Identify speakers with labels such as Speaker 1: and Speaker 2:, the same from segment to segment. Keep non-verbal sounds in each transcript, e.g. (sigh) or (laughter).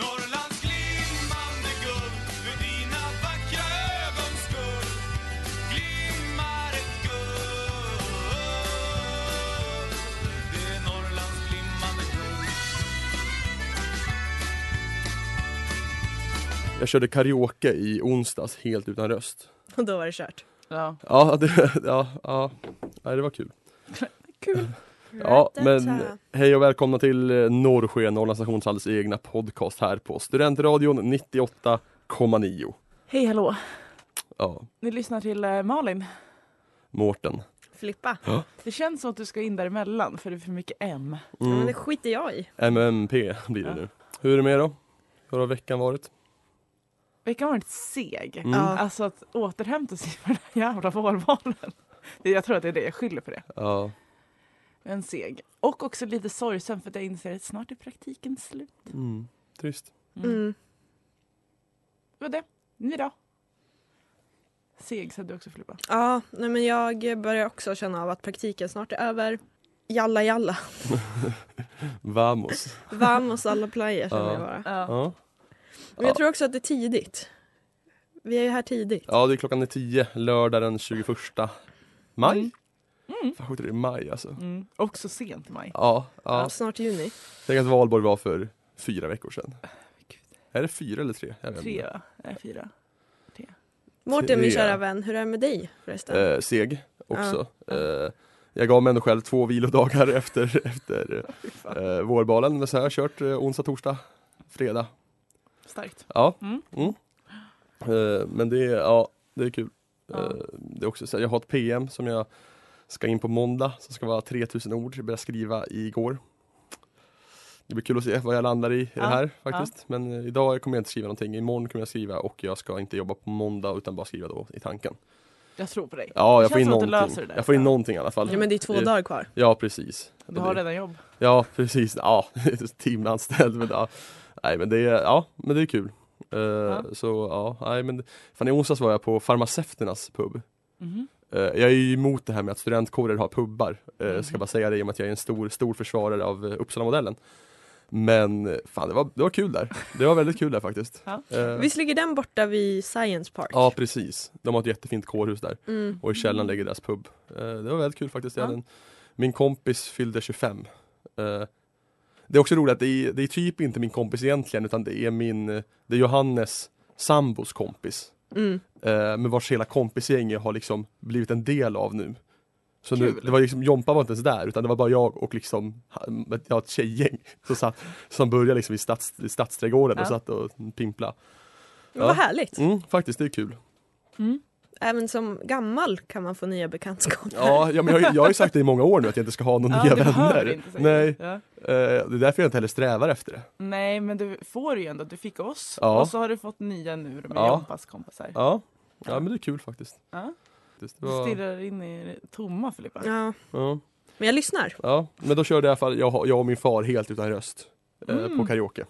Speaker 1: Norrlands glimmande guld för dina vackra ögons skull glimmar ett guld Det är Norrlands glimmande guld
Speaker 2: Jag körde karaoke i onsdags helt utan röst.
Speaker 3: (laughs) Och då var det kört.
Speaker 4: Ja.
Speaker 2: Ja, det, (laughs) ja, ja. Nej, det var kul.
Speaker 4: Kul.
Speaker 2: Ja, men hej och välkomna till eh, Norrsken, Norrlands Stationshalls egna podcast här på Studentradion 98,9.
Speaker 4: Hej hallå.
Speaker 2: Ja,
Speaker 4: Ni lyssnar till eh, Malin.
Speaker 2: Mårten.
Speaker 3: Filippa.
Speaker 4: Det känns som att du ska in däremellan för det är för mycket M.
Speaker 3: Ja, men det
Speaker 2: Mm,
Speaker 3: skiter jag i.
Speaker 2: MMP blir det
Speaker 4: Ja.
Speaker 2: nu. Hur är det med er då? Hur har veckan varit?
Speaker 4: Veckan har varit seg.
Speaker 2: Mm.
Speaker 3: Ja.
Speaker 4: Alltså att återhämta sig från den här jävla vårvalen. Det- Jag tror att det är det jag skyller på det.
Speaker 2: Ja,
Speaker 4: Men seg. Och också lite sorgsen för att jag inser att snart är praktiken slut.
Speaker 2: mm, trist. (laughs)
Speaker 4: Mm.
Speaker 3: Mm.
Speaker 4: Det var det. Ni då? Seg sa du också Filippa.
Speaker 3: Ja, nej, men jag börjar också känna av att praktiken snart är över. Jalla (laughs) jalla.
Speaker 2: Vamos.
Speaker 3: Vamos alla player känner jag
Speaker 2: Ja.
Speaker 3: bara.
Speaker 4: Ja.
Speaker 2: Ja,
Speaker 3: Men jag tror också att det är tidigt. Vi är ju här tidigt.
Speaker 2: ja det är klockan är 10, lördag den 21 maj.
Speaker 4: Mm. Mm.
Speaker 2: Fan sjukt att det är maj alltså.
Speaker 4: Mm. Också sent i maj.
Speaker 2: Ja, ja.
Speaker 3: Snart juni.
Speaker 2: Tänk att valborg var för fyra veckor sedan.
Speaker 4: Gud.
Speaker 2: Är det fyra eller tre? Jag vet
Speaker 4: Tre,
Speaker 2: inte.
Speaker 4: va? Nej, fyra.
Speaker 3: Mårten min
Speaker 2: Tre.
Speaker 3: kära vän, hur är det med dig förresten?
Speaker 2: Eh, seg också. Eh, jag gav mig ändå själv två vilodagar (laughs) efter, efter eh, vårbalen. Men så har jag kört eh, onsdag, torsdag, fredag.
Speaker 4: Starkt.
Speaker 2: Ja.
Speaker 4: Mm.
Speaker 2: Mm. Eh, men det är, ja, det är kul.
Speaker 4: Ja.
Speaker 2: Eh, det är också, så här, jag har ett PM som jag ska in på måndag som ska vara 3000 ord. Jag började skriva igår. Det blir kul att se vad jag landar i, i det
Speaker 4: Ja,
Speaker 2: här faktiskt. Men eh, idag kommer jag inte skriva någonting. Imorgon kommer jag skriva och jag ska inte jobba på måndag utan bara skriva då i tanken.
Speaker 4: Jag tror på dig.
Speaker 2: Ja,
Speaker 4: Det
Speaker 2: jag får
Speaker 4: känns
Speaker 2: in
Speaker 4: som att du
Speaker 2: någonting.
Speaker 4: löser det där.
Speaker 2: Jag får in
Speaker 4: Ja.
Speaker 2: någonting i alla fall.
Speaker 3: Ja men det är två
Speaker 2: Eh,
Speaker 3: dagar kvar.
Speaker 2: Ja, precis.
Speaker 4: Du har redan jobb.
Speaker 2: Ja, precis. Ja, (laughs) timanställd. Men, ja. Nej, men det är, ja, men det är kul. Eh, Så ja, nej men fan i onsdags var jag på Farmaceuternas pub.
Speaker 4: Mhm.
Speaker 2: Eh, jag är ju emot det här med att studentkårer har pubbar. Eh, Ska
Speaker 4: Mhm.
Speaker 2: bara säga det i och med att jag är en stor, stor försvarare av uh, Uppsala-modellen. Men eh, fan det var, det var kul där. Det var väldigt kul där faktiskt.
Speaker 4: Ja.
Speaker 2: Eh,
Speaker 3: Visst ligger den borta vid Science Park?
Speaker 2: ja precis. De har ett jättefint kårhus där.
Speaker 3: Mm.
Speaker 2: Och i källaren ligger deras pub. Eh, det var väldigt kul faktiskt. Jag
Speaker 4: Ja.
Speaker 2: hade en, min kompis fyllde 25. Eh, det är också roligt att det är, det är typ inte min kompis egentligen utan det är min, eh, det är Johannes sambos kompis.
Speaker 3: Mm.
Speaker 2: Eh, men vars hela kompisgäng jag har liksom blivit en del av nu. Så nu,
Speaker 4: Kul.
Speaker 2: det var liksom, Jompa var inte ens där utan det var bara jag och liksom, han- jag har ett tjejgäng (laughs) som, satt, som började liksom i, stads, i stadsträdgården och
Speaker 4: Ja.
Speaker 2: satt och pimpla.
Speaker 3: Men Vad härligt.
Speaker 2: Mm, faktiskt, det är
Speaker 4: (laughs)
Speaker 2: kul.
Speaker 4: Mm.
Speaker 3: Även som gammal kan man få nya bekantskaper.
Speaker 2: Ja, ja men jag, har- jag har ju sagt det i många år nu att jag inte ska ha några
Speaker 4: Ja,
Speaker 2: nya
Speaker 4: det behöver
Speaker 2: vänner.
Speaker 4: inte säga.
Speaker 2: Nej,
Speaker 4: Ja.
Speaker 2: eh, det är därför jag inte heller strävar efter det.
Speaker 4: Nej, men du får ju ändå. Du fick oss
Speaker 2: Ja.
Speaker 4: och så har du fått nya nu med
Speaker 2: Ja.
Speaker 4: Jompas kompisar.
Speaker 2: Ja, ja men det är kul faktiskt.
Speaker 4: Ja.
Speaker 2: Faktiskt, det
Speaker 4: Du
Speaker 2: var-
Speaker 4: stirrar in i det tomma Filippa.
Speaker 3: Ja.
Speaker 2: ja,
Speaker 3: Men jag lyssnar.
Speaker 2: ja, men då körde jag i alla fall jag, jag och min far helt utan röst. eh,
Speaker 4: Mm.
Speaker 2: På karaoke.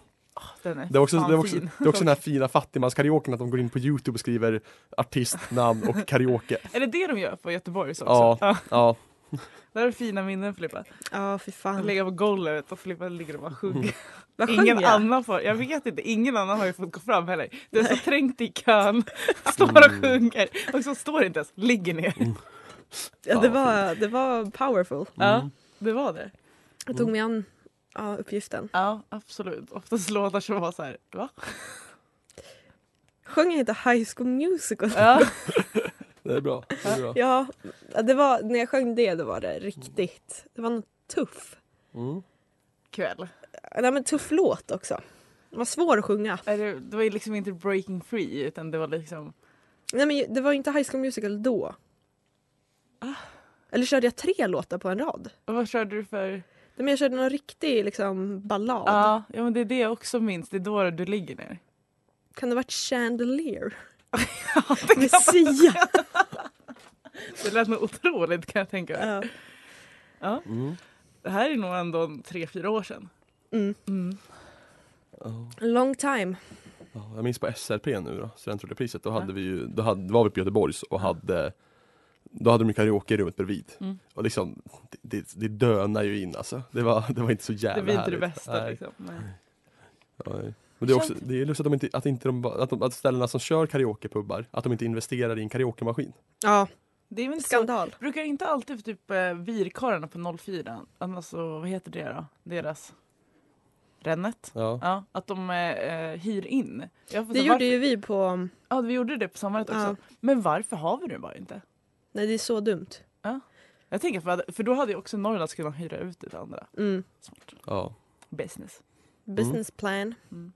Speaker 4: Den är
Speaker 2: Det är också,
Speaker 4: fan
Speaker 2: det är också,
Speaker 4: fin.
Speaker 2: det är också den här fina fattigmanskaraoken att de går in på Youtube och skriver artistnamn och
Speaker 4: (laughs)
Speaker 2: karaoke.
Speaker 4: Är det det de gör på Göteborgs också?
Speaker 2: Ja. Ja,
Speaker 4: Där är fina minnen Filippa.
Speaker 3: Ja, fy
Speaker 4: Att
Speaker 3: fan.
Speaker 4: ligga på golvet och Filippa ligger och bara
Speaker 2: Mm.
Speaker 4: (laughs) sjunger.
Speaker 3: Vad sjöng
Speaker 4: Ingen
Speaker 3: jag?
Speaker 4: annan får, jag vet inte, ingen annan har ju fått gå fram heller. Du är så trängt i kön, (laughs) står
Speaker 2: Mm.
Speaker 4: och sjunger och så står inte ens, ligger ner.
Speaker 3: Ja, det, var, det var powerful.
Speaker 2: Mm.
Speaker 4: Ja, det var det.
Speaker 3: Jag tog mig an ja, uppgiften.
Speaker 4: Ja, absolut. Oftast låtar som var så här, va?
Speaker 3: Sjöng jag inte High School Musical?
Speaker 4: Ja.
Speaker 2: det är bra. Det är bra.
Speaker 3: (laughs) Ja, det var, när jag sjöng det då var det riktigt. Det var nog tuff.
Speaker 2: Mm.
Speaker 4: Kväll.
Speaker 3: Nej men tuff låt också. Det var svår att sjunga.
Speaker 4: Nej, Det, det var ju liksom inte breaking free utan det var liksom
Speaker 3: Nej men det var ju inte High School Musical då. Ah. Eller körde jag tre låtar på en rad?
Speaker 4: och vad körde du för?
Speaker 3: Nej, men jag körde någon riktig liksom ballad.
Speaker 4: Ja, ja men det är det jag också minns. Det är då du ligger (laughs) ner.
Speaker 3: Kan det ha varit (laughs) Chandelier?
Speaker 4: Det, kan,
Speaker 3: Messia!
Speaker 4: det lät nog otroligt kan jag tänka mig.
Speaker 3: Ja.
Speaker 4: Ja.
Speaker 2: Mm.
Speaker 4: Det här är nog ändå en tre, fyra år sedan.
Speaker 3: Mm.
Speaker 4: Mm.
Speaker 2: Ja.
Speaker 3: Long time.
Speaker 2: Ja, Jag minns på SRP nu då, studentradiopriset, då, hade vi ju, då, hade, då var vi på Göteborgs och hade Då hade de ju karaoke i rummet bredvid.
Speaker 4: Mm.
Speaker 2: Och liksom, det, det, det dönar ju in alltså. Det var, det var inte så jävla
Speaker 4: Det blir inte det
Speaker 2: härligt.
Speaker 4: bästa
Speaker 2: Nej,
Speaker 4: liksom. Nej.
Speaker 2: nej. Men det är också, det är lustigt att, de inte, att, inte de, bara- att, de, att ställena som kör karaokepubbar, att de inte investerar i en karaokemaskin.
Speaker 3: Ja,
Speaker 4: Det är väl inte så
Speaker 3: skandal.
Speaker 4: Brukar inte alltid för typ eh, virkarlarna på 04, alltså vad heter det då? Deras Rennet?
Speaker 2: Ja.
Speaker 4: Ja, att de eh, eh, hyr in. Jag får
Speaker 3: Det
Speaker 4: så-
Speaker 3: gjorde ju vi på... um,
Speaker 4: Ja, vi gjorde det på sommaren också.
Speaker 3: Ja.
Speaker 4: Men varför har vi det bara inte?
Speaker 3: Nej, det är så dumt.
Speaker 4: Jag tänker för, att- för då hade ju också Norrlands kunnat hyra ut det till andra.
Speaker 3: Mm.
Speaker 4: Smart.
Speaker 2: Ja.
Speaker 4: Business.
Speaker 3: Business plan.
Speaker 4: Mm.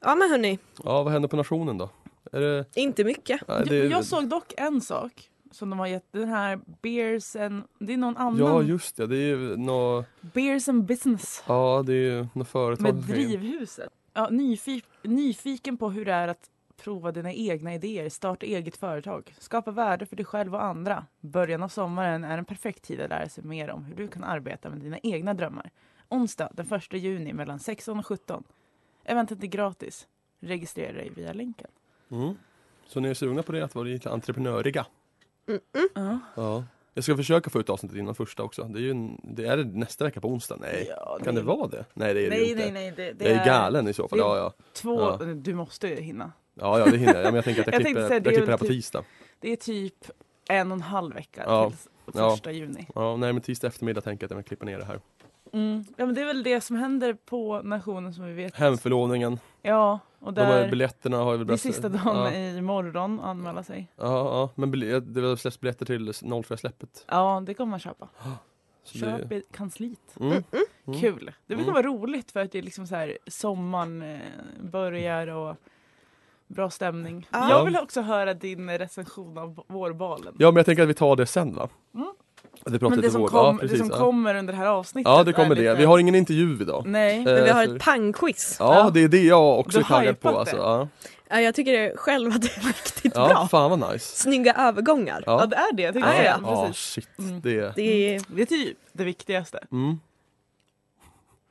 Speaker 3: Ja, men hörni.
Speaker 2: ja, vad händer på nationen då? Är det,
Speaker 3: Inte mycket.
Speaker 2: ja,
Speaker 4: Jag,
Speaker 2: det,
Speaker 4: jag såg dock en sak som de har gett den här Beers and, det är någon annan.
Speaker 2: Ja just det, det är ju nå,
Speaker 4: Beers and business
Speaker 2: ja det är ju något företag
Speaker 4: med
Speaker 2: som ska in.
Speaker 4: Drivhuset. Ja, nyfi- nyfiken på hur det är att prova dina egna idéer, starta eget företag, skapa värde för dig själv och andra. Början av sommaren är en perfekt tid att lära sig mer om hur du kan arbeta med dina egna drömmar. Onsdag den 1 juni mellan 16 och 17. Eventet är gratis. Registrera dig via länken.
Speaker 2: Mm. Så ni är sugna på det, att vara lite entreprenöriga?
Speaker 3: Mm,
Speaker 4: Ja.
Speaker 2: Ja. Jag ska försöka få ut avsnittet innan första också. Det är ju en, det är det nästa vecka på onsdag? Nej.
Speaker 4: Ja,
Speaker 2: Kan det vara det? Nej det är det ju
Speaker 4: Nej,
Speaker 2: inte.
Speaker 4: nej, nej. Det, det
Speaker 2: jag är galen i så fall.
Speaker 4: det-
Speaker 2: Ja, ja.
Speaker 4: Två,
Speaker 2: Ja.
Speaker 4: Du måste ju hinna.
Speaker 2: ja, ja det hinner jag. Ja, Men jag tänker att jag,
Speaker 4: (laughs) Jag
Speaker 2: klipper,
Speaker 4: tänkte säga,
Speaker 2: jag
Speaker 4: det är
Speaker 2: klipper det här på
Speaker 4: väl typ-
Speaker 2: tisdag.
Speaker 4: Det är typ en och en halv vecka
Speaker 2: Ja.
Speaker 4: till
Speaker 2: Ja.
Speaker 4: första juni.
Speaker 2: Ja, nej men tisdag eftermiddag tänker jag att jag klipper ner det här.
Speaker 4: Mm. Ja, men det är väl det som händer på nationen som vi vet.
Speaker 2: Hemförlovningen,
Speaker 4: Ja, och
Speaker 2: de här
Speaker 4: där.
Speaker 2: biljetterna har jag väl
Speaker 4: Det är
Speaker 2: börjat- ja.
Speaker 4: sista dagen i morgon att anmäla sig.
Speaker 2: Ja, ja, men bilj- det har släppts biljetter till nollfria-släppet.
Speaker 4: Ja, det kommer man köpa.
Speaker 2: Så det-
Speaker 4: Köp i kansliet.
Speaker 2: Mm. Mm.
Speaker 4: Kul! Det brukar
Speaker 2: Mm.
Speaker 4: vara roligt för att det är liksom så här sommaren eh, börjar och bra stämning.
Speaker 3: Ja.
Speaker 4: Jag vill också höra din recension av vårbalen.
Speaker 2: Ja men jag tänker att vi tar det sen va?
Speaker 4: Mm.
Speaker 2: Att vi pratar
Speaker 4: Men det
Speaker 2: lite
Speaker 4: som,
Speaker 2: vård.
Speaker 4: kom,
Speaker 2: ja, precis,
Speaker 4: det som
Speaker 2: ja.
Speaker 4: kommer under det här avsnittet.
Speaker 2: ja det
Speaker 4: är
Speaker 2: kommer det.
Speaker 4: lite-
Speaker 2: Vi har ingen intervju idag.
Speaker 4: Nej.
Speaker 3: Men vi
Speaker 2: Eh,
Speaker 3: har
Speaker 2: för-
Speaker 3: ett pangquiz.
Speaker 2: Ja
Speaker 4: Ja.
Speaker 2: det är det jag också
Speaker 4: Du
Speaker 2: är taggad på
Speaker 4: hypat
Speaker 2: alltså.
Speaker 4: det.
Speaker 2: Ja,
Speaker 3: Ja, jag tycker själv att det är (laughs) riktigt
Speaker 2: ja
Speaker 3: bra.
Speaker 2: fan vad nice.
Speaker 3: Snygga övergångar.
Speaker 4: Ja,
Speaker 2: Ja,
Speaker 4: det är det. Jag tycker
Speaker 3: Ja,
Speaker 4: det.
Speaker 3: ja.
Speaker 2: ja
Speaker 4: Precis.
Speaker 2: shit.
Speaker 4: Mm.
Speaker 2: Det är...
Speaker 3: Det är...
Speaker 4: Det är typ det viktigaste.
Speaker 2: Mm.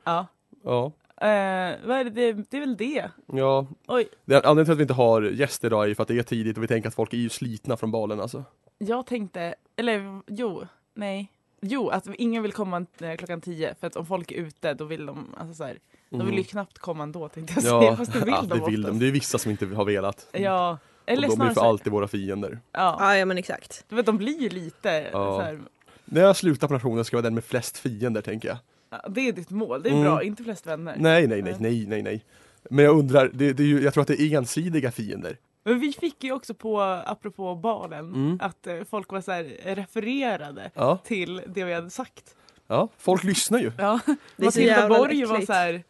Speaker 4: Ja.
Speaker 2: Ja.
Speaker 4: Eh, vad är det? Det, det är väl det.
Speaker 2: Ja.
Speaker 4: Oj.
Speaker 2: Det är, anledningen till att vi inte har gäster idag är ju för att det är tidigt och vi tänker att folk är ju slitna från balen alltså.
Speaker 4: Jag tänkte, eller jo, nej. Jo, att ingen vill komma eh, klockan tio för att om folk är ute då vill de, alltså så här, de vill ju knappt komma ändå tänkte jag säga. Fast det vill
Speaker 2: Mm. (laughs) ja,
Speaker 4: de
Speaker 2: det vill de.
Speaker 4: oftast.
Speaker 2: Det är vissa som inte har velat.
Speaker 4: alltså. Ja, eller
Speaker 2: och de är
Speaker 4: snarare
Speaker 2: för
Speaker 4: så här,
Speaker 2: alltid våra fiender.
Speaker 4: ja.
Speaker 3: Ja, ja men exakt.
Speaker 4: Du vet, de blir ju lite
Speaker 2: Ja.
Speaker 4: så här,
Speaker 2: När jag slutar på nationen ska jag vara den med flest fiender tänker jag.
Speaker 4: ja, det är ditt mål, det är
Speaker 2: Mm.
Speaker 4: bra, inte flest vänner.
Speaker 2: Nej, nej, nej, nej, nej, nej. Men jag undrar, det, det är ju, jag tror att det är ensidiga fiender.
Speaker 4: Men vi fick ju också på, apropå balen,
Speaker 2: Mm.
Speaker 4: att eh, folk var så här refererade
Speaker 2: Ja,
Speaker 4: till det vi hade sagt.
Speaker 2: ja. folk lyssnar ju.
Speaker 4: Ja.
Speaker 3: Det är så
Speaker 4: Matilda
Speaker 3: jävla
Speaker 4: Borg var
Speaker 3: äckligt.
Speaker 4: så här,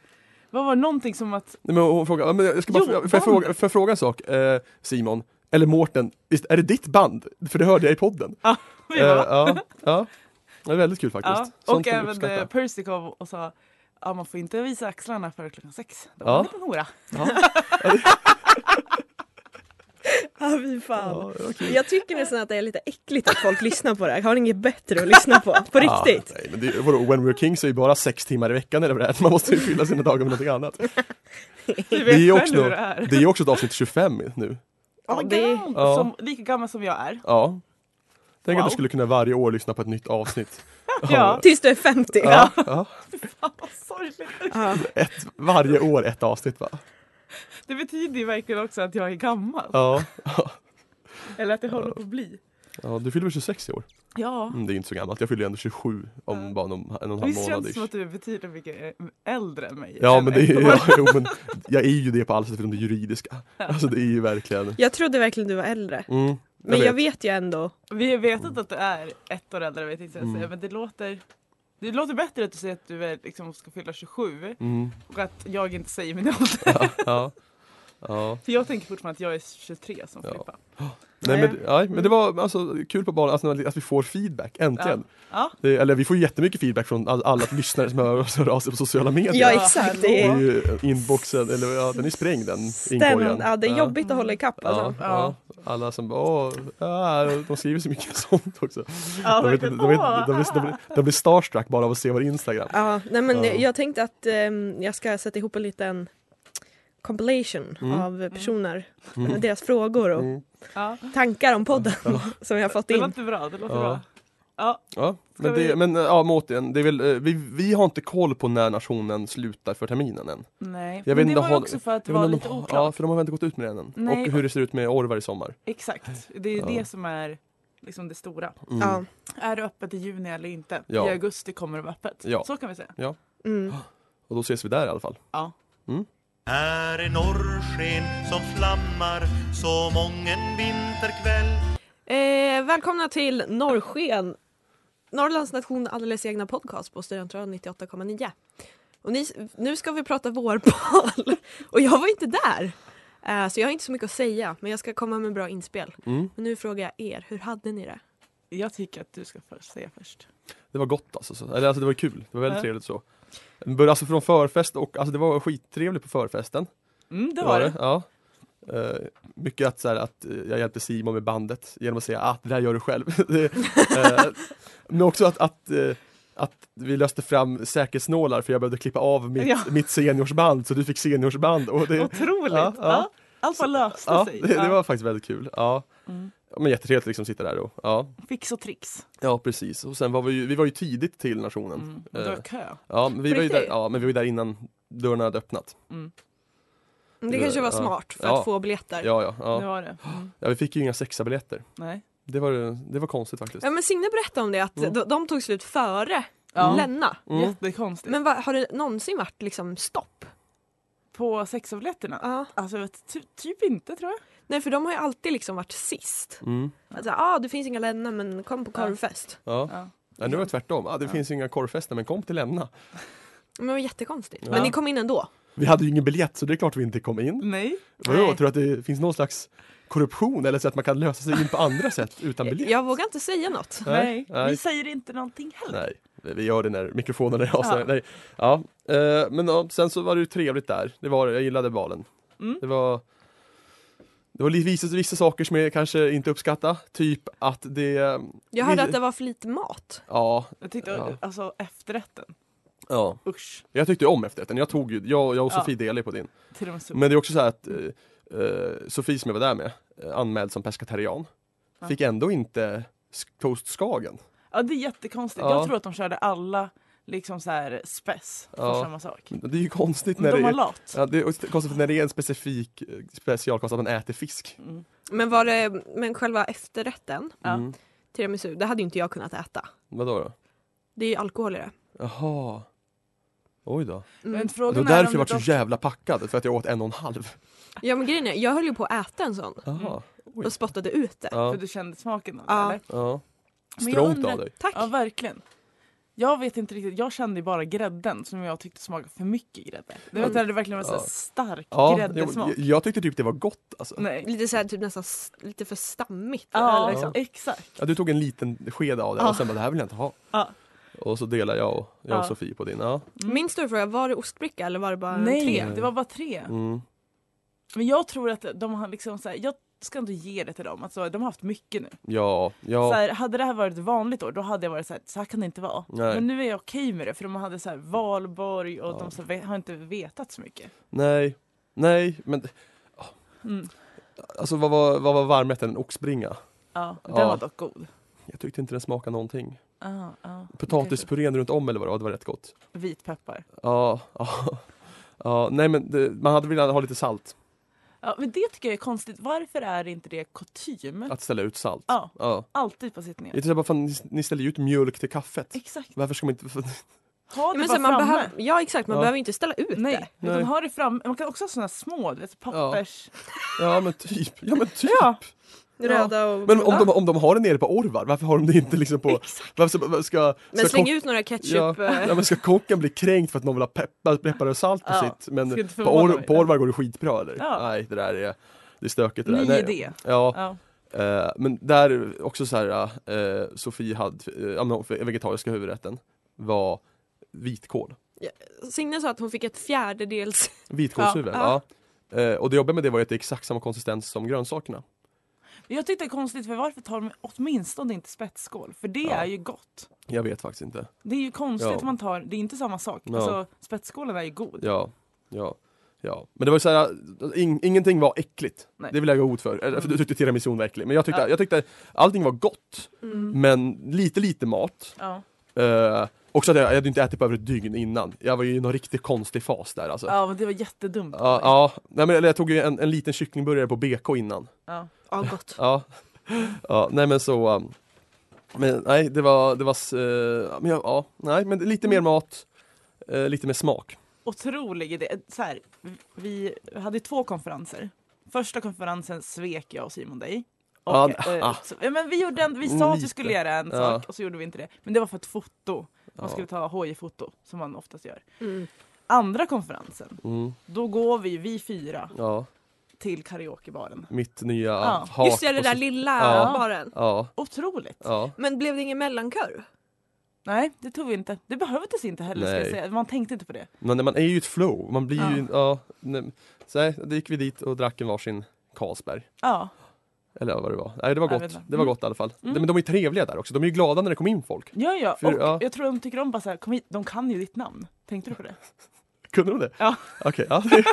Speaker 4: vad var någonting som att, (laughs)
Speaker 2: Nej, Men hon frågar, ja, men jag ska bara,
Speaker 4: Jo,
Speaker 2: får, jag fråga,
Speaker 4: bandet.
Speaker 2: får jag fråga en sak? Eh, Simon, eller Mårten, visst är det ditt band? För det hörde jag i podden.
Speaker 4: vi
Speaker 2: Eh,
Speaker 4: bara,
Speaker 2: ja, ja. Det är väldigt kul faktiskt.
Speaker 4: Ja,
Speaker 2: Sånt
Speaker 4: och
Speaker 2: kan vi
Speaker 4: även
Speaker 2: uppskatta.
Speaker 4: eh, Percy kom och sa Ja man får inte visa axlarna före klockan sex. Det var
Speaker 2: Ja.
Speaker 4: en liten hora.
Speaker 2: Ja,
Speaker 3: Ja, fy fan.
Speaker 2: ja, det var kul.
Speaker 3: Jag tycker nästan att det är lite äckligt att folk lyssnar på det här. Har ni inget bättre att lyssna på? På riktigt.
Speaker 2: (laughs) Ja, Ah, nej, men det, är- vadå, When We're Kings är ju bara sex timmar i veckan eller vad det är. Man måste ju fylla sina dagar med någonting annat.
Speaker 4: Du
Speaker 2: (laughs) Det är,
Speaker 4: vet
Speaker 2: ju
Speaker 4: själv
Speaker 2: också,
Speaker 4: hur det är.
Speaker 2: det är ju också ett avsnitt 25 nu.
Speaker 4: Ja,
Speaker 3: Ja, det-
Speaker 4: gammal,
Speaker 2: Ja.
Speaker 4: Som, lika gammal som jag är.
Speaker 2: Ja. Tänk att
Speaker 4: Wow.
Speaker 2: du skulle kunna varje år lyssna på ett nytt avsnitt.
Speaker 4: (laughs) Ja.
Speaker 3: Tills du är 50.
Speaker 2: Ja, ja.
Speaker 4: Fan, vad sorgligt.
Speaker 3: Ja.
Speaker 2: Ett, varje år ett avsnitt va?
Speaker 4: Det betyder ju verkligen också att jag är gammal.
Speaker 2: Ja.
Speaker 4: Eller att jag håller på att bli.
Speaker 2: ja du fyller väl 26 i år?
Speaker 4: Ja.
Speaker 2: Mm, det är inte så gammalt, jag fyller ju ändå 27 om
Speaker 4: Ja.
Speaker 2: bara någon, en och en halv
Speaker 4: Visst
Speaker 2: månad
Speaker 4: känns det som
Speaker 2: ish.
Speaker 4: att du är betydligt mycket eh, äldre än mig?
Speaker 2: Ja
Speaker 4: Eller? (laughs)
Speaker 2: men, det är, ja, jo, men jag är ju det på alla sätt förutom det juridiska. Alltså det är ju verkligen
Speaker 3: Jag trodde verkligen du var äldre.
Speaker 2: mm, jag
Speaker 3: Men jag vet ju ändå.
Speaker 4: Vi har vetat att du är ett år äldre vet inte vad jag
Speaker 2: Mm.
Speaker 4: säger, men det låter det låter bättre att du säger att du är, liksom, ska fylla 27
Speaker 2: Mm,
Speaker 4: och att jag inte säger min (laughs) ålder.
Speaker 2: ja, ja, ja.
Speaker 4: För jag tänker fortfarande att jag är 23 som
Speaker 2: Ja.
Speaker 4: Filippa.
Speaker 2: Nej,
Speaker 3: Nej. Mm.
Speaker 2: men, ja, men det var alltså, kul på banan alltså, att vi får feedback, äntligen.
Speaker 4: Ja.
Speaker 2: Det, eller vi får ju jättemycket feedback från all- alla lyssnare som hör hör av sig på sociala medier.
Speaker 3: Ja exakt. Det
Speaker 2: Det är
Speaker 3: är,
Speaker 2: ju inboxen, eller ja, den är sprängd den
Speaker 3: den,
Speaker 2: inkorgen.
Speaker 3: ja, det är
Speaker 2: Ja.
Speaker 3: jobbigt att hålla ikapp
Speaker 2: Ja,
Speaker 3: alltså.
Speaker 2: ja. Alla som bara åh, ah, de skriver så mycket (laughs) sånt också.
Speaker 4: Ja,
Speaker 2: De, vet,
Speaker 4: verkligen.
Speaker 2: inte- de, vet,
Speaker 4: Åh.
Speaker 2: de, blir, de, blir, de blir starstruck bara av att se vår Instagram.
Speaker 3: Ja, nej men
Speaker 2: Ja.
Speaker 3: jag tänkte att ehm, jag ska sätta ihop en liten compilation
Speaker 2: Mm.
Speaker 3: av personer,
Speaker 2: Mm.
Speaker 3: deras frågor och
Speaker 2: Mm.
Speaker 4: Ja.
Speaker 3: tankar om podden (laughs) som jag har fått
Speaker 4: Det var
Speaker 3: in.
Speaker 4: inte bra, det låter
Speaker 2: Ja.
Speaker 4: bra. Ja,
Speaker 2: Ja,
Speaker 4: Ska
Speaker 2: men,
Speaker 4: vi-
Speaker 2: det, men eh, ja, men återigen, det är väl, eh, vi, vi har inte koll på när nationen slutar för terminen än.
Speaker 4: nej.
Speaker 2: Jag vet
Speaker 4: Men det
Speaker 2: inte,
Speaker 4: var ju
Speaker 2: har-
Speaker 4: också för att det
Speaker 2: Jag vet
Speaker 4: var
Speaker 2: inte
Speaker 4: lite
Speaker 2: om de-
Speaker 4: oklart.
Speaker 2: Ja, för de har väl inte gått ut med den än.
Speaker 4: Nej.
Speaker 2: Och hur det ser ut med Orvar i sommar.
Speaker 4: Exakt, det är ju
Speaker 2: Ja.
Speaker 4: det som är liksom det stora.
Speaker 2: Mm.
Speaker 3: Ja.
Speaker 4: Är det öppet i juni eller inte?
Speaker 2: Ja.
Speaker 4: I augusti kommer det vara öppet.
Speaker 2: Ja.
Speaker 4: Så kan vi säga.
Speaker 3: Mm.
Speaker 2: Och då ses vi där i alla fall.
Speaker 4: Ja.
Speaker 1: Här är norrsken som flammar som mången vinterkväll
Speaker 3: Eh, välkomna till Norrsken, Norrlands nation alldeles egna podcast på Studentradion 98,9. Och ni, nu ska vi prata vårval (laughs) och jag var inte där. Eh, så jag har inte så mycket att säga men jag ska komma med bra inspel.
Speaker 2: Mm.
Speaker 3: Men nu frågar jag er, hur hade ni det?
Speaker 4: Jag tycker att du ska först säga först.
Speaker 2: Det var gott alltså. Så, eller alltså det var kul. Det var väldigt
Speaker 4: Ja.
Speaker 2: trevligt så. Det började Alltså från förfest och alltså det var skittrevligt på förfesten.
Speaker 4: Mm, det var det.
Speaker 2: Ja. Eh, mycket att, så här, att eh, jag hjälpte Simon med bandet genom att säga att ah, det där gör du själv. (laughs) Det, eh, men också att, att, eh, att vi löste fram säkerhetsnålar för jag behövde klippa av mitt,
Speaker 4: Ja.
Speaker 2: mitt seniorsband så du fick seniorsband. Och det,
Speaker 4: Otroligt!
Speaker 2: Ja,
Speaker 4: Ja,
Speaker 2: ja.
Speaker 4: Allt bara löste
Speaker 2: ja,
Speaker 4: sig.
Speaker 2: det, det var faktiskt väldigt kul. Ja.
Speaker 4: Mm.
Speaker 2: Men jättetrevligt att liksom sitta där och ja.
Speaker 4: Fix och trix.
Speaker 2: Ja precis, och sen var vi ju, vi var ju tidigt till nationen.
Speaker 4: Mm. Och det
Speaker 2: Eh,
Speaker 4: var kö.
Speaker 2: Ja, men vi
Speaker 3: På
Speaker 2: var ju där,
Speaker 3: riktigt?
Speaker 2: ja, men vi var ju där innan dörrarna hade öppnat.
Speaker 4: Mm.
Speaker 3: Mm, Det,
Speaker 2: Det-
Speaker 3: kanske var
Speaker 2: ja.
Speaker 3: smart för
Speaker 2: Ja.
Speaker 3: att få biljetter. Ja.
Speaker 2: Ja, ja,
Speaker 4: Det
Speaker 2: ja.
Speaker 4: var det. Mm.
Speaker 2: ja vi fick ju inga sexabiljetter.
Speaker 4: Nej.
Speaker 2: Det var, det var konstigt faktiskt.
Speaker 3: men Signe berättade om det att
Speaker 2: Mm.
Speaker 3: de, de tog slut före
Speaker 4: Ja.
Speaker 3: Lenna.
Speaker 2: Mm.
Speaker 4: Jättekonstigt.
Speaker 3: Men vad- har det någonsin varit liksom stopp?
Speaker 4: På sexavlätterna?
Speaker 3: Ja.
Speaker 4: Alltså vet- ty, typ inte tror jag.
Speaker 3: Nej för de har ju alltid liksom varit sist.
Speaker 2: Mm.
Speaker 3: Alltså, ah, det finns inga Lenna men kom på korvfest.
Speaker 2: Ja.
Speaker 4: Ja.
Speaker 2: ja, nu var det tvärtom. Ah, det finns inga korvfester men kom till Lämna.
Speaker 3: Men det var jättekonstigt.
Speaker 2: Ja.
Speaker 3: Men ni kom in ändå.
Speaker 2: Vi hade ju ingen biljett så det är klart vi inte kom in.
Speaker 4: Nej.
Speaker 2: Vadå,
Speaker 3: Nej.
Speaker 2: tror du att det finns någon slags korruption eller så att man kan lösa sig in på andra sätt utan biljett?
Speaker 3: Jag vågar inte säga något.
Speaker 4: Nej.
Speaker 2: Nej.
Speaker 4: Vi säger inte någonting heller.
Speaker 2: Nej, vi vi gör det när mikrofonen är avstängd.
Speaker 4: Ja.
Speaker 2: Nej. Ja. Eh, men ja, sen så var det ju trevligt där. Det var, det. jag gillade valen.
Speaker 4: Mm.
Speaker 2: Det var det var li- vissa, vissa saker som jag kanske inte uppskattade. Typ att det...
Speaker 3: Jag hörde att det var för lite mat.
Speaker 2: Ja.
Speaker 4: Jag tyckte
Speaker 2: Ja.
Speaker 4: alltså efterrätten,
Speaker 2: ja.
Speaker 4: usch.
Speaker 2: Jag tyckte om efterrätten. Jag, tog, ju- jag, jag och
Speaker 4: Ja.
Speaker 2: Sofie delade på din.
Speaker 4: Till och med så.
Speaker 2: Men det är också så här att eh, eh, Sofie som jag var där med, eh, anmäld som pescatarian,
Speaker 4: Ja.
Speaker 2: fick ändå inte s- Toast Skagen.
Speaker 4: Ja det är jättekonstigt.
Speaker 2: Ja.
Speaker 4: Jag tror att de körde alla liksom så här spess för
Speaker 2: Ja.
Speaker 4: samma sak.
Speaker 2: Men Det är ju konstigt
Speaker 4: Men
Speaker 2: när
Speaker 4: de
Speaker 2: det
Speaker 4: har
Speaker 2: är,
Speaker 4: lat.
Speaker 2: ja, det är också konstigt när det är en specifik eh, specialkost att man äter fisk.
Speaker 4: Mm.
Speaker 3: Men, var det, men själva efterrätten,
Speaker 4: Ja.
Speaker 2: Mm.
Speaker 3: tiramisu, det hade ju inte jag kunnat äta.
Speaker 2: Vadå då?
Speaker 3: Det är ju alkohol i det.
Speaker 2: Jaha. Oj då.
Speaker 4: Men
Speaker 3: Mm.
Speaker 2: Det var
Speaker 4: frågan är
Speaker 2: därför
Speaker 4: om
Speaker 2: jag var
Speaker 4: det
Speaker 2: så
Speaker 4: dock... Mm.
Speaker 2: jävla packad, för att jag åt en och en halv.
Speaker 3: Ja men grejen är, jag höll ju på att äta en sån
Speaker 2: Jaha. Oj.
Speaker 3: och spottade ut det.
Speaker 2: Ja.
Speaker 4: För du kände smaken av det,
Speaker 3: Ja.
Speaker 4: eller?
Speaker 2: ja.
Speaker 4: Men jag
Speaker 2: Strångt
Speaker 4: undrar-
Speaker 2: av dig.
Speaker 3: Tack!
Speaker 4: Ja verkligen. Jag vet inte riktigt, jag kände ju bara grädden som jag tyckte smakade för mycket grädde. Det var där det verkligen var så här
Speaker 2: Ja.
Speaker 4: stark
Speaker 2: Ja,
Speaker 4: gräddesmak.
Speaker 2: jag, jag tyckte typ det var gott alltså.
Speaker 4: Nej.
Speaker 3: Lite såhär typ nästan s- lite för stammigt.
Speaker 4: Ja,
Speaker 3: Eller liksom.
Speaker 4: exakt.
Speaker 2: Ja, du tog en liten sked av det
Speaker 4: Ja.
Speaker 2: och sen bara det här vill jag inte ha.
Speaker 4: Ja.
Speaker 2: Och så delar jag och, jag och
Speaker 4: Ja.
Speaker 2: Sofie på din. Ja.
Speaker 4: Mm.
Speaker 3: Min stora fråga, var det ostbricka eller var det bara en
Speaker 4: Nej,
Speaker 3: tre?
Speaker 4: det var bara tre.
Speaker 2: Mm.
Speaker 4: Men jag tror att de har liksom så här, jag ska inte ge det till dem. Alltså, de har haft mycket nu.
Speaker 2: Ja,
Speaker 4: Så
Speaker 2: ja.
Speaker 4: här, hade det här varit ett vanligt år då hade jag varit så här, så här kan det inte vara.
Speaker 2: Nej.
Speaker 4: Men nu är jag okej med det för de hade så här valborg och
Speaker 2: Ja.
Speaker 4: de så här, har inte vetat så mycket.
Speaker 2: Nej, nej, men
Speaker 4: Mm.
Speaker 2: alltså vad var, vad var varmrätten? En oxbringa?
Speaker 4: Ja, den
Speaker 2: Ja.
Speaker 4: var dock god.
Speaker 2: Jag tyckte inte den smakade någonting.
Speaker 4: Ah, ah.
Speaker 2: Potatispurén runt om eller vad det var, det var rätt gott.
Speaker 4: Vitpeppar.
Speaker 2: Ja, ja. ja nej men det, man hade velat ha lite salt,
Speaker 4: Ja, men det tycker jag är konstigt. Varför är inte det kutym?
Speaker 2: att ställa ut salt.
Speaker 4: Ja,
Speaker 2: Ja.
Speaker 4: alltid på sittningar.
Speaker 2: Jag tänkte bara, fan, ni, ni ställer ju ut mjölk till kaffet.
Speaker 4: Exakt.
Speaker 2: Varför ska man inte... (laughs) För,
Speaker 4: Ha
Speaker 3: Ja,
Speaker 4: det
Speaker 3: men
Speaker 4: bara
Speaker 3: så man
Speaker 4: framme.
Speaker 3: behöver, ja exakt, man
Speaker 2: Ja.
Speaker 3: behöver ju inte ställa ut
Speaker 4: Nej,
Speaker 3: det.
Speaker 4: utan
Speaker 2: Nej.
Speaker 4: ha det fram. Man kan också ha såna små, du vet, pappers...
Speaker 2: ja men typ, ja men typ!
Speaker 4: Ja.
Speaker 3: Röda och
Speaker 2: Men om de, om de har det nere på Orvar, varför har de det inte
Speaker 4: (laughs)
Speaker 2: liksom på... Varför ska... ska,
Speaker 3: Men
Speaker 2: ska
Speaker 3: släng
Speaker 2: kock-
Speaker 3: ut några
Speaker 2: Ja,
Speaker 3: ketchup. eh,
Speaker 2: ja men ska kocken bli kränkt för att någon vill ha peppar, peppar och salt på
Speaker 4: Ja,
Speaker 2: sitt? Men
Speaker 4: ska inte
Speaker 2: på,
Speaker 4: förvåna
Speaker 2: or,
Speaker 4: mig.
Speaker 2: på Orvar går det skitbra eller?
Speaker 4: Ja.
Speaker 2: Nej det där är, det är stökigt det där.
Speaker 4: Ny
Speaker 2: Nej.
Speaker 4: idé.
Speaker 2: Ja,
Speaker 4: Ja.
Speaker 2: eh, men där också så här, eh, Sofie hade, eh, ja, men för- vegetariska huvudrätten var vitkål.
Speaker 3: Signe sa att hon fick ett fjärdedels...
Speaker 2: Vitkålshuvud, ja.
Speaker 3: Ja,
Speaker 2: Eh, och det jobbiga med det var ju att det är exakt samma konsistens som grönsakerna.
Speaker 4: Men Jag tyckte det är konstigt, för varför tar de åtminstone inte spetsskål? För det
Speaker 2: Ja.
Speaker 4: är ju gott.
Speaker 2: Jag vet faktiskt inte.
Speaker 4: Det är ju konstigt
Speaker 2: Ja.
Speaker 4: att man tar, det är inte samma sak.
Speaker 2: Ja.
Speaker 4: Alltså, spetsskålen är ju god.
Speaker 2: Ja, ja. Ja, men det var ju såhär, in, ingenting var äckligt.
Speaker 4: Nej. Mm.
Speaker 2: Det vill jag gå ut för. Eller, för du tyckte tiramisun var äcklig, men jag tyckte,
Speaker 4: Ja.
Speaker 2: jag tyckte allting var gott,
Speaker 3: Mm.
Speaker 2: men lite lite mat.
Speaker 4: Ja.
Speaker 2: Eh, också att jag, jag hade inte ätit på över ett dygn innan. Jag var ju i någon riktigt konstig fas där alltså.
Speaker 4: ja, men det var jättedumt.
Speaker 2: Ja, ja. Nej, men, eller jag tog ju en, en liten kycklingburgare på BK innan.
Speaker 4: Ja.
Speaker 3: Ja, gott.
Speaker 2: Ja, (laughs) ja nej men så um, men, Nej det var, det var s- eh, men, ja, ja, nej men lite
Speaker 4: Mm.
Speaker 2: mer mat eh, Lite mer smak
Speaker 4: Otrolig idé. Så här, vi hade två konferenser. Första konferensen svek jag och Simon dig. Och,
Speaker 2: Ja,
Speaker 4: eh,
Speaker 2: ah.
Speaker 4: så, ja, men vi, gjorde en, vi sa att vi
Speaker 2: Lite.
Speaker 4: skulle göra en
Speaker 2: Ja.
Speaker 4: sak och så gjorde vi inte det. Men det var för ett foto. Man
Speaker 2: Ja.
Speaker 4: skulle ta HJ-foto som man oftast gör.
Speaker 3: Mm.
Speaker 4: Andra konferensen,
Speaker 2: mm,
Speaker 4: då går vi, vi fyra,
Speaker 2: Ja,
Speaker 4: till karaokebaren.
Speaker 2: mitt nya
Speaker 4: Ja.
Speaker 2: hat
Speaker 3: Just det,
Speaker 2: på
Speaker 3: det där
Speaker 2: so-
Speaker 3: lilla
Speaker 2: Ja.
Speaker 3: baren.
Speaker 2: Ja,
Speaker 4: Otroligt!
Speaker 2: ja
Speaker 3: Men blev det ingen mellankör?
Speaker 4: Nej, det tog vi inte. Det behövdes inte heller ska jag
Speaker 2: Nej.
Speaker 4: säga. Man tänkte inte på det.
Speaker 2: Men när man är ju i ett flow, man blir ju,
Speaker 4: Ja.
Speaker 2: ja nej, Så nej, då gick vi dit och drack en varsin Carlsberg
Speaker 4: Ja,
Speaker 2: Eller vad det var, nej det var
Speaker 4: Jag vet
Speaker 2: gott,
Speaker 4: inte.
Speaker 2: det var gott i alla fall
Speaker 4: Mm.
Speaker 2: Nej, Men de är ju trevliga där också, de är ju glada när det kommer in folk
Speaker 4: ja, ja.
Speaker 2: För-
Speaker 4: och
Speaker 2: ja.
Speaker 4: jag tror de tycker om bara så här, kom hit, de kan ju ditt namn. Tänkte du på det? (laughs)
Speaker 2: Kunde de det?
Speaker 4: Ja.
Speaker 2: Okej, ja, det-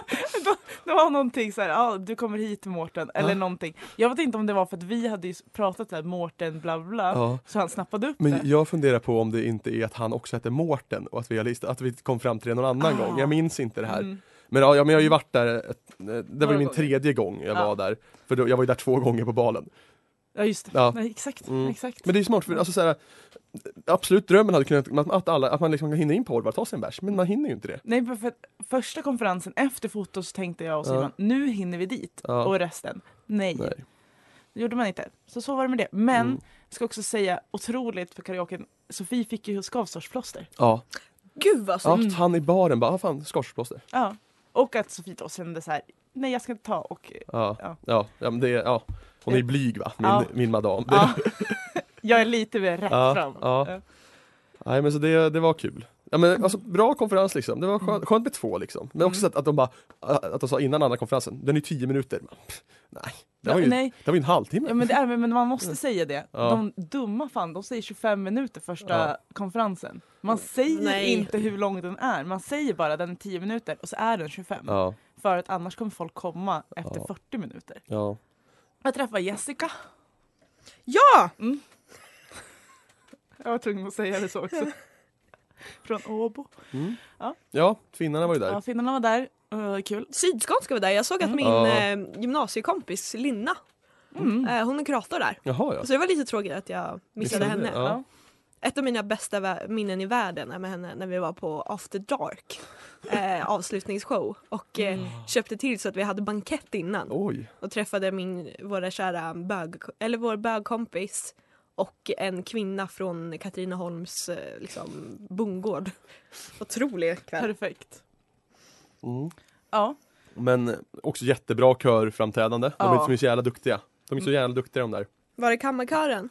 Speaker 4: Det var någonting så här, ja du kommer hit Mårten, eller
Speaker 2: Ja.
Speaker 4: någonting. Jag vet inte om det var för att vi hade ju pratat så här Mårten bla bla,
Speaker 2: ja.
Speaker 4: så han snappade upp
Speaker 2: Men
Speaker 4: det.
Speaker 2: jag funderar på om det inte är att han också heter Mårten och att vi, har listat, att vi kom fram till det någon annan
Speaker 4: Ah.
Speaker 2: gång. Jag minns inte det här.
Speaker 4: Mm.
Speaker 2: Men, ja, ja, men jag har ju varit där, ett, det var
Speaker 4: Några
Speaker 2: ju min
Speaker 4: gånger.
Speaker 2: tredje gång jag
Speaker 4: Ja.
Speaker 2: var där. För då, jag var ju där två gånger på balen.
Speaker 4: Ja just det,
Speaker 2: Ja.
Speaker 4: Nej, exakt.
Speaker 2: Mm.
Speaker 4: exakt.
Speaker 2: Men det är ju smart, för alltså, så här, absolut drömmen hade kunnat att, att, alla, att man liksom hinner in på Horvar, ta sig en bärs, men man hinner ju inte det.
Speaker 4: Nej, för att första konferensen efter fotot så tänkte jag och
Speaker 2: Ja.
Speaker 4: Simon, nu hinner vi dit.
Speaker 2: Ja.
Speaker 4: Och resten, nej.
Speaker 2: Nej.
Speaker 4: Det gjorde man inte. Så så var det med det. Men,
Speaker 2: Mm.
Speaker 4: jag ska också säga, otroligt för karaoken, Sofie fick ju skavsårsplåster.
Speaker 2: Ja.
Speaker 3: Gud vad
Speaker 2: ja,
Speaker 3: snyggt.
Speaker 4: Mm.
Speaker 2: att han i baren bara, ah, fan, skorstensplåster.
Speaker 4: Ja. Och att Sofie då kände så här, nej jag ska inte ta och
Speaker 2: Ja.
Speaker 4: Ja.
Speaker 2: Ja. Ja, men det är, ja. Hon är ju blyg va, min,
Speaker 4: Ja.
Speaker 2: min madam. Det,
Speaker 4: ja, (laughs) jag är lite mer
Speaker 2: (laughs)
Speaker 4: rätt
Speaker 2: Ja,
Speaker 4: fram.
Speaker 2: ja. Nej men så det, det var kul. Ja men alltså bra konferens liksom, det var
Speaker 4: Mm.
Speaker 2: skönt, skönt med två liksom. Men också så att, att de bara, att de sa innan andra konferensen, den är 10 minuter. Man, pff, Nej, det
Speaker 4: Ja,
Speaker 2: var ju,
Speaker 4: nej.
Speaker 2: Det var ju en halvtimme.
Speaker 4: Ja men, det är, men men man måste säga det.
Speaker 2: Mm. Ja.
Speaker 4: De dumma fan, de säger 25 minuter första
Speaker 2: Ja.
Speaker 4: konferensen. Man säger
Speaker 3: Nej.
Speaker 4: inte hur lång den är, man säger bara den är 10 minuter och så är den 25.
Speaker 2: Ja,
Speaker 4: För att annars kommer folk komma efter
Speaker 2: Ja.
Speaker 4: 40 minuter.
Speaker 2: ja.
Speaker 4: Jag träffade Jessica. Mm.
Speaker 3: Ja!
Speaker 4: Jag var tvungen att säga det så (laughs) också. Från Åbo.
Speaker 2: ja finnarna var ju där.
Speaker 4: Ja, finnarna var där. Eh, kul.
Speaker 3: Sydskånska var där. Jag såg att min
Speaker 2: Ja.
Speaker 3: eh, gymnasiekompis Linna,
Speaker 2: Mm.
Speaker 4: Mm.
Speaker 3: eh, hon är kurator där.
Speaker 2: Jaha ja.
Speaker 4: Alltså-
Speaker 3: Så det var lite tråkigt att jag
Speaker 2: Missade,
Speaker 3: missade henne.
Speaker 2: ja.
Speaker 3: Ett av mina bästa vä- minnen i världen är med henne när vi var på After
Speaker 4: (laughs)
Speaker 3: Dark eh, avslutningsshow och eh,
Speaker 4: Mm.
Speaker 3: köpte till så att vi hade bankett innan
Speaker 2: Oj.
Speaker 3: och träffade min, våra kära bög, eller vår bögkompis och en kvinna från Katrineholms eh, liksom, bondgård. Otrolig kväll.
Speaker 4: Perfekt.
Speaker 2: Mm.
Speaker 4: Ja.
Speaker 2: Men också jättebra körframträdande. De är
Speaker 4: Ja. Mm.
Speaker 2: inte så jävla duktiga. De är så jävla duktiga de där.
Speaker 3: Var är kammarkören?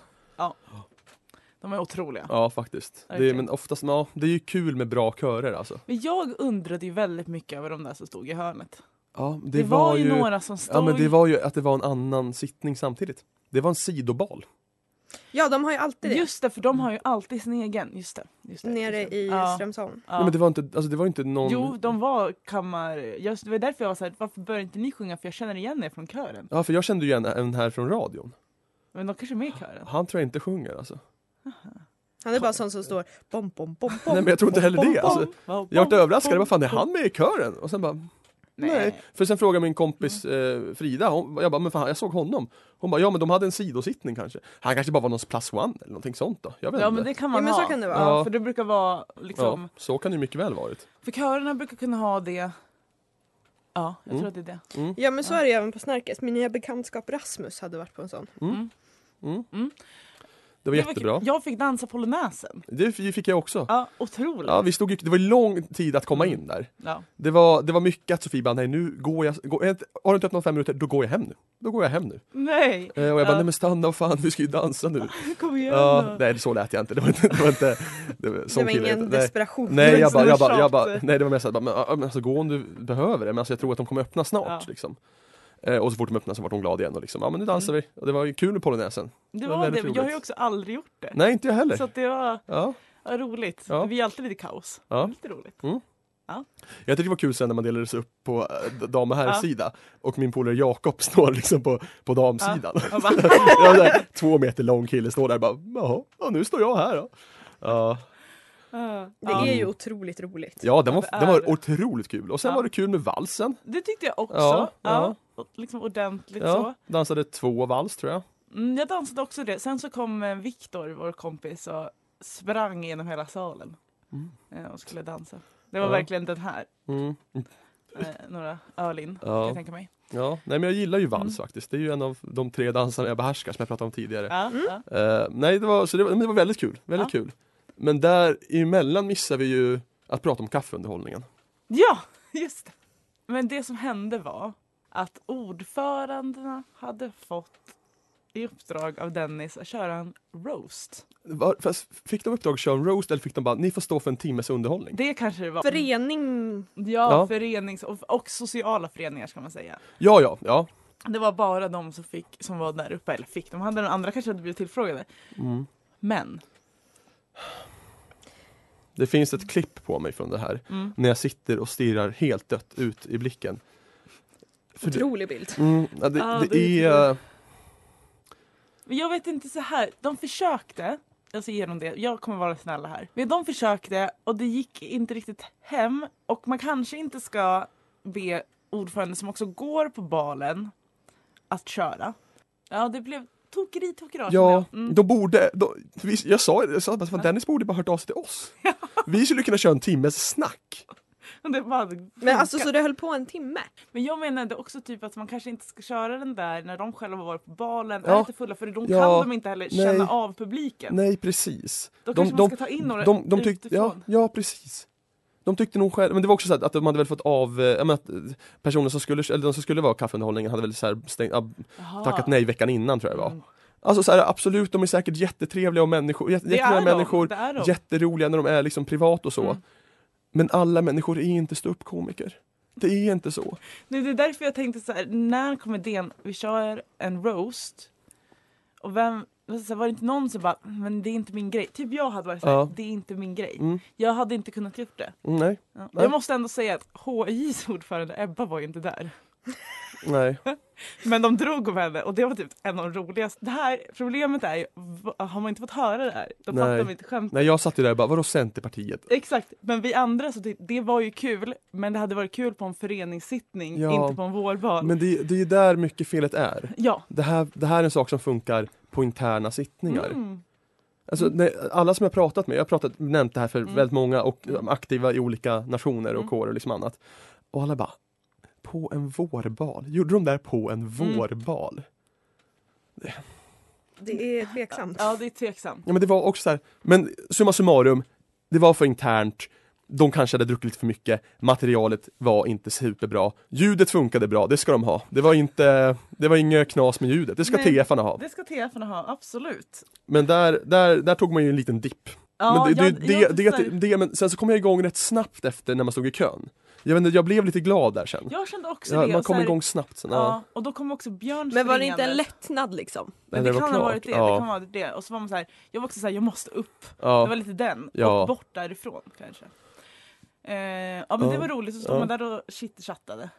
Speaker 4: De är otroliga.
Speaker 2: Ja faktiskt. Det är,
Speaker 4: Verkligen.
Speaker 2: men oftast, ja, det är ju kul med bra körer alltså.
Speaker 4: Men jag undrade ju väldigt mycket över de där som stod i hörnet.
Speaker 2: Ja,
Speaker 4: Det, var, ju några som stod.
Speaker 2: Ja men det var ju att det var en annan sittning samtidigt. Det var en sidobal.
Speaker 3: Ja, de har ju alltid det.
Speaker 4: Just det, för de har ju alltid sin egen. Just det. Just det
Speaker 3: Nere
Speaker 4: just det.
Speaker 3: i
Speaker 4: Ja,
Speaker 3: Strömsholm.
Speaker 4: ja.
Speaker 2: Nej, men det var inte, alltså det var inte någon
Speaker 4: Jo, de var kammar... Just, det var därför jag var såhär, varför börjar inte ni sjunga? För jag känner igen er från kören.
Speaker 2: Ja för jag kände ju igen en här från radion.
Speaker 4: Men de kanske är med i kören?
Speaker 2: Han tror jag inte sjunger alltså.
Speaker 3: Han är bara sån som står bom, bom, bom,
Speaker 4: (laughs)
Speaker 3: bom.
Speaker 2: Nej men jag tror inte heller det. Alltså, jag vart överraskad, vad fan är
Speaker 4: bom.
Speaker 2: han med i kören? Och sen bara, nej.
Speaker 4: Nej.
Speaker 2: För sen frågade min kompis eh, Frida, hon, jag bara, men fan jag såg honom. Hon bara, ja men de hade en sidosittning kanske. Han kanske bara var någons plus one eller någonting sånt då. Jag vet
Speaker 4: Ja
Speaker 2: inte.
Speaker 4: men det kan man
Speaker 3: Ja, men
Speaker 4: ha.
Speaker 3: så kan det vara.
Speaker 4: Ja,
Speaker 2: Ja.
Speaker 4: för det brukar vara liksom...
Speaker 2: ja, så kan det ju mycket väl varit.
Speaker 4: För körerna brukar kunna ha det... Ja, jag tror
Speaker 2: Mm.
Speaker 4: att det är det.
Speaker 3: Ja men så är det ju även på Snärkes. Min nya bekantskap Rasmus hade varit på en sån.
Speaker 2: Det var
Speaker 4: kul.
Speaker 2: jättebra.
Speaker 4: Jag fick dansa polonäsen.
Speaker 2: Det f- fick jag också.
Speaker 4: Ja, otroligt.
Speaker 2: Ja, vi stod ju, det var ju lång tid att komma in där.
Speaker 4: Ja.
Speaker 2: Det var, det var mycket att Sofie bara, nej nu går jag, går, har du inte öppnat fem minuter, då går jag hem nu. Då går jag hem nu.
Speaker 4: Nej,
Speaker 2: Eh, och jag bara,
Speaker 4: Ja.
Speaker 2: nej men stanna och fan vi ska ju dansa nu.
Speaker 4: kom igen
Speaker 2: Ja,
Speaker 4: då.
Speaker 2: nej så lät jag inte, det var inte, det var inte det var,
Speaker 3: Det
Speaker 2: sån
Speaker 3: var
Speaker 2: kille jag
Speaker 3: ingen
Speaker 2: inte. nej.
Speaker 3: desperation. Liksom.
Speaker 2: Nej jag bara, jag bara, jag
Speaker 4: tjat.
Speaker 2: bara, nej det var mer såhär, bara, men, ja, men alltså gå om du behöver det, men alltså, jag tror att de kommer öppna snart
Speaker 4: Ja.
Speaker 2: liksom. Eh, och så fort de öppnade så vart hon glad igen och liksom, ja men nu dansar
Speaker 4: Mm.
Speaker 2: vi. Och det var ju kul med polonäsen.
Speaker 4: Det
Speaker 2: Det
Speaker 4: var
Speaker 2: var
Speaker 4: det,
Speaker 2: väldigt
Speaker 4: men jag har ju
Speaker 2: roligt.
Speaker 4: också aldrig gjort det.
Speaker 2: Nej inte jag heller.
Speaker 4: Så att det var
Speaker 2: Ja.
Speaker 4: ja, roligt.
Speaker 2: Ja.
Speaker 4: Vi är alltid lite kaos.
Speaker 2: Ja.
Speaker 4: Lite roligt.
Speaker 2: Mm.
Speaker 4: Ja.
Speaker 2: Jag tyckte det var kul sen när man delades upp på eh, d- dam och herrsida och min polare Jakob (laughs) står liksom på, på damsidan. (laughs)
Speaker 4: Och bara,
Speaker 2: Jag var där, två meter lång kille står där och bara jaha, ja, nu står jag här då. Ja,
Speaker 4: ah,
Speaker 3: Det
Speaker 4: ja.
Speaker 3: är ju otroligt roligt.
Speaker 2: ja den, var,
Speaker 4: Ja, det
Speaker 2: den var
Speaker 4: är-
Speaker 2: otroligt kul och sen
Speaker 4: Ja.
Speaker 2: var det kul med valsen.
Speaker 4: Det tyckte jag också.
Speaker 2: Ja,
Speaker 4: Ja,
Speaker 2: ja.
Speaker 4: och Liksom ordentligt så.
Speaker 2: Ja, dansade två vals tror jag.
Speaker 4: Mm, jag dansade också det. Sen så kom eh, Viktor, vår kompis, och sprang genom hela salen
Speaker 2: Mm.
Speaker 4: eh, och skulle dansa. Det var
Speaker 2: Ja.
Speaker 4: verkligen den här.
Speaker 2: Mm.
Speaker 4: Eh, några öl in,
Speaker 2: Ja.
Speaker 4: kan jag tänka mig.
Speaker 2: Ja, nej men jag gillar ju vals
Speaker 4: Mm.
Speaker 2: faktiskt. Det är ju en av de tre danserna jag behärskar som jag pratade om tidigare.
Speaker 4: Ja, ja.
Speaker 2: Eh, nej, det var, så det, var, men det var väldigt kul. Väldigt kul. Men där emellan missar vi ju att prata om kaffeunderhållningen.
Speaker 4: ja, (laughs) just det. Men det som hände var att ordförandena hade fått i uppdrag av Dennis att köra en roast.
Speaker 2: Var, fast fick de uppdrag att köra en roast eller fick de bara, ni får stå för en timmes underhållning?
Speaker 4: Det kanske det var.
Speaker 3: Förening
Speaker 4: ja,
Speaker 2: Ja.
Speaker 4: förenings och, och sociala föreningar ska man säga.
Speaker 2: Ja, ja, ja.
Speaker 4: Det var bara de som, fick, som var där uppe, eller fick, de hade de andra kanske hade blivit tillfrågade.
Speaker 2: Mm.
Speaker 4: Men,
Speaker 2: Det finns ett klipp på mig från det här.
Speaker 4: mm,
Speaker 2: När jag sitter och stirrar helt dött ut i blicken. För det,
Speaker 3: Otrolig bild.
Speaker 2: mm, ja, det,
Speaker 4: Ja,
Speaker 2: det,
Speaker 4: det är
Speaker 2: är... eh,
Speaker 4: Men jag vet inte så här, de försökte, jag ser igenom det, jag kommer vara snäll här. Men de försökte och det gick inte riktigt hem och man kanske inte ska be ordförande som också går på balen att köra. Ja, det blev tokeri, tokerage.
Speaker 2: Ja,
Speaker 4: Mm.
Speaker 2: de borde... De, vi, jag sa det, jag sa att alltså, Dennis borde bara hört av sig till
Speaker 4: (laughs)
Speaker 2: oss. Vi skulle kunna köra en timmes snack.
Speaker 4: Det bara
Speaker 3: Men alltså så det höll på en timme.
Speaker 4: Men jag menade också typ att man kanske inte ska köra den där när de själva varit på balen
Speaker 2: Ja.
Speaker 4: är lite fulla för då
Speaker 2: Ja.
Speaker 4: kan de inte heller
Speaker 2: Nej.
Speaker 4: känna av publiken.
Speaker 2: Nej, precis.
Speaker 4: Då
Speaker 2: De-
Speaker 4: kanske
Speaker 2: de-
Speaker 4: man ska ta in några
Speaker 2: de, de tyckte, ja,
Speaker 4: utifrån.
Speaker 2: ja precis. De tyckte nog själv, men det var också så här att de hade väl fått av, eh, jag menar, att eh, personen som skulle, eller de som skulle vara kaffeunderhållningen hade väl så här stängt, ah,
Speaker 4: Jaha.
Speaker 2: tackat nej veckan innan tror jag det var.
Speaker 4: Mm.
Speaker 2: Alltså så här, absolut, de är säkert jättetrevliga och människor, jätte,
Speaker 4: Det är
Speaker 2: jättetrevliga
Speaker 4: de,
Speaker 2: människor,
Speaker 4: det är de.
Speaker 2: jätteroliga när de är liksom privat och så.
Speaker 4: Mm.
Speaker 2: Men alla människor är inte ståuppkomiker. Det är inte så.
Speaker 4: Nej, det är därför jag tänkte så här, när kom idén, vi kör en roast och vem, alltså så här, var det inte någon som bara, men det är inte min grej. Typ jag hade varit så här,
Speaker 2: Ja.
Speaker 4: det är inte min grej.
Speaker 2: Mm.
Speaker 4: Jag hade inte kunnat gjort det.
Speaker 2: Mm, Nej,
Speaker 4: Ja.
Speaker 2: Nej.
Speaker 4: Jag måste ändå säga att HIs ordförande Ebba var ju inte där.
Speaker 2: nej.
Speaker 4: Men de drog om henne och det var typ en av de roligaste. Det här problemet är ju, va- har man inte fått höra det här, då
Speaker 2: Nej.
Speaker 4: fattar man inte skämt.
Speaker 2: Nej, jag satt ju där och bara, vadå Centerpartiet?
Speaker 4: Exakt, men vi andra så tyckte det var ju kul, men det hade varit kul på en föreningssittning,
Speaker 2: Ja.
Speaker 4: inte på en vårbal.
Speaker 2: Men det, det är där mycket felet är.
Speaker 4: Ja.
Speaker 2: Det här, det här är en sak som funkar på interna sittningar.
Speaker 4: Mm.
Speaker 2: Alltså, nej, alla som jag pratat med, jag har pratat, nämnt det här för
Speaker 4: Mm.
Speaker 2: väldigt många och
Speaker 4: Mm.
Speaker 2: de aktiva i olika nationer och
Speaker 4: Mm.
Speaker 2: kårer och liksom annat. Och alla bara, på en vårbal? Gjorde de där på
Speaker 4: Mm.
Speaker 2: en vårbal?
Speaker 3: Det är tveksamt.
Speaker 4: Ja, det är tveksamt.
Speaker 2: Mm. Ja men det var också så här, men summa summarum, det var för internt, de kanske hade druckit lite för mycket, materialet var inte superbra, ljudet funkade bra, det ska de ha. Det var inte, det var inget knas med ljudet, det ska
Speaker 4: Nej.
Speaker 2: TFarna ha.
Speaker 4: Det ska TFn ha, absolut.
Speaker 2: Men där, där, där tog man ju en liten dipp.
Speaker 4: Ja,
Speaker 2: men det,
Speaker 4: jag-
Speaker 2: det,
Speaker 4: jag-
Speaker 2: det, det, det, men sen så kom jag igång rätt snabbt efter när man stod i kön. Jag, vet inte, jag blev lite glad där sen.
Speaker 4: jag kände också
Speaker 2: Ja,
Speaker 4: det.
Speaker 2: man
Speaker 4: och så
Speaker 2: kom
Speaker 4: här-
Speaker 2: igång snabbt sen. Ja.
Speaker 4: Ja, och då kom också Björn
Speaker 3: Men var det inte en
Speaker 4: springandes.
Speaker 3: lättnad liksom?
Speaker 4: Men
Speaker 2: Eller
Speaker 4: det kan ha
Speaker 2: klart.
Speaker 4: varit det.
Speaker 2: Ja.
Speaker 4: det, kan vara det. Och så var man så här, jag var också så här, jag måste upp.
Speaker 2: Ja.
Speaker 4: Det var lite den.
Speaker 2: Ja.
Speaker 4: Och bort därifrån kanske. Eh, ja men
Speaker 2: Ja.
Speaker 4: det var roligt, så stod
Speaker 2: Ja.
Speaker 4: man där och chitchattade.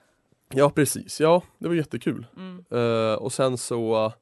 Speaker 2: ja, precis. Ja, det var jättekul.
Speaker 4: Mm.
Speaker 2: Eh, och sen så... eh,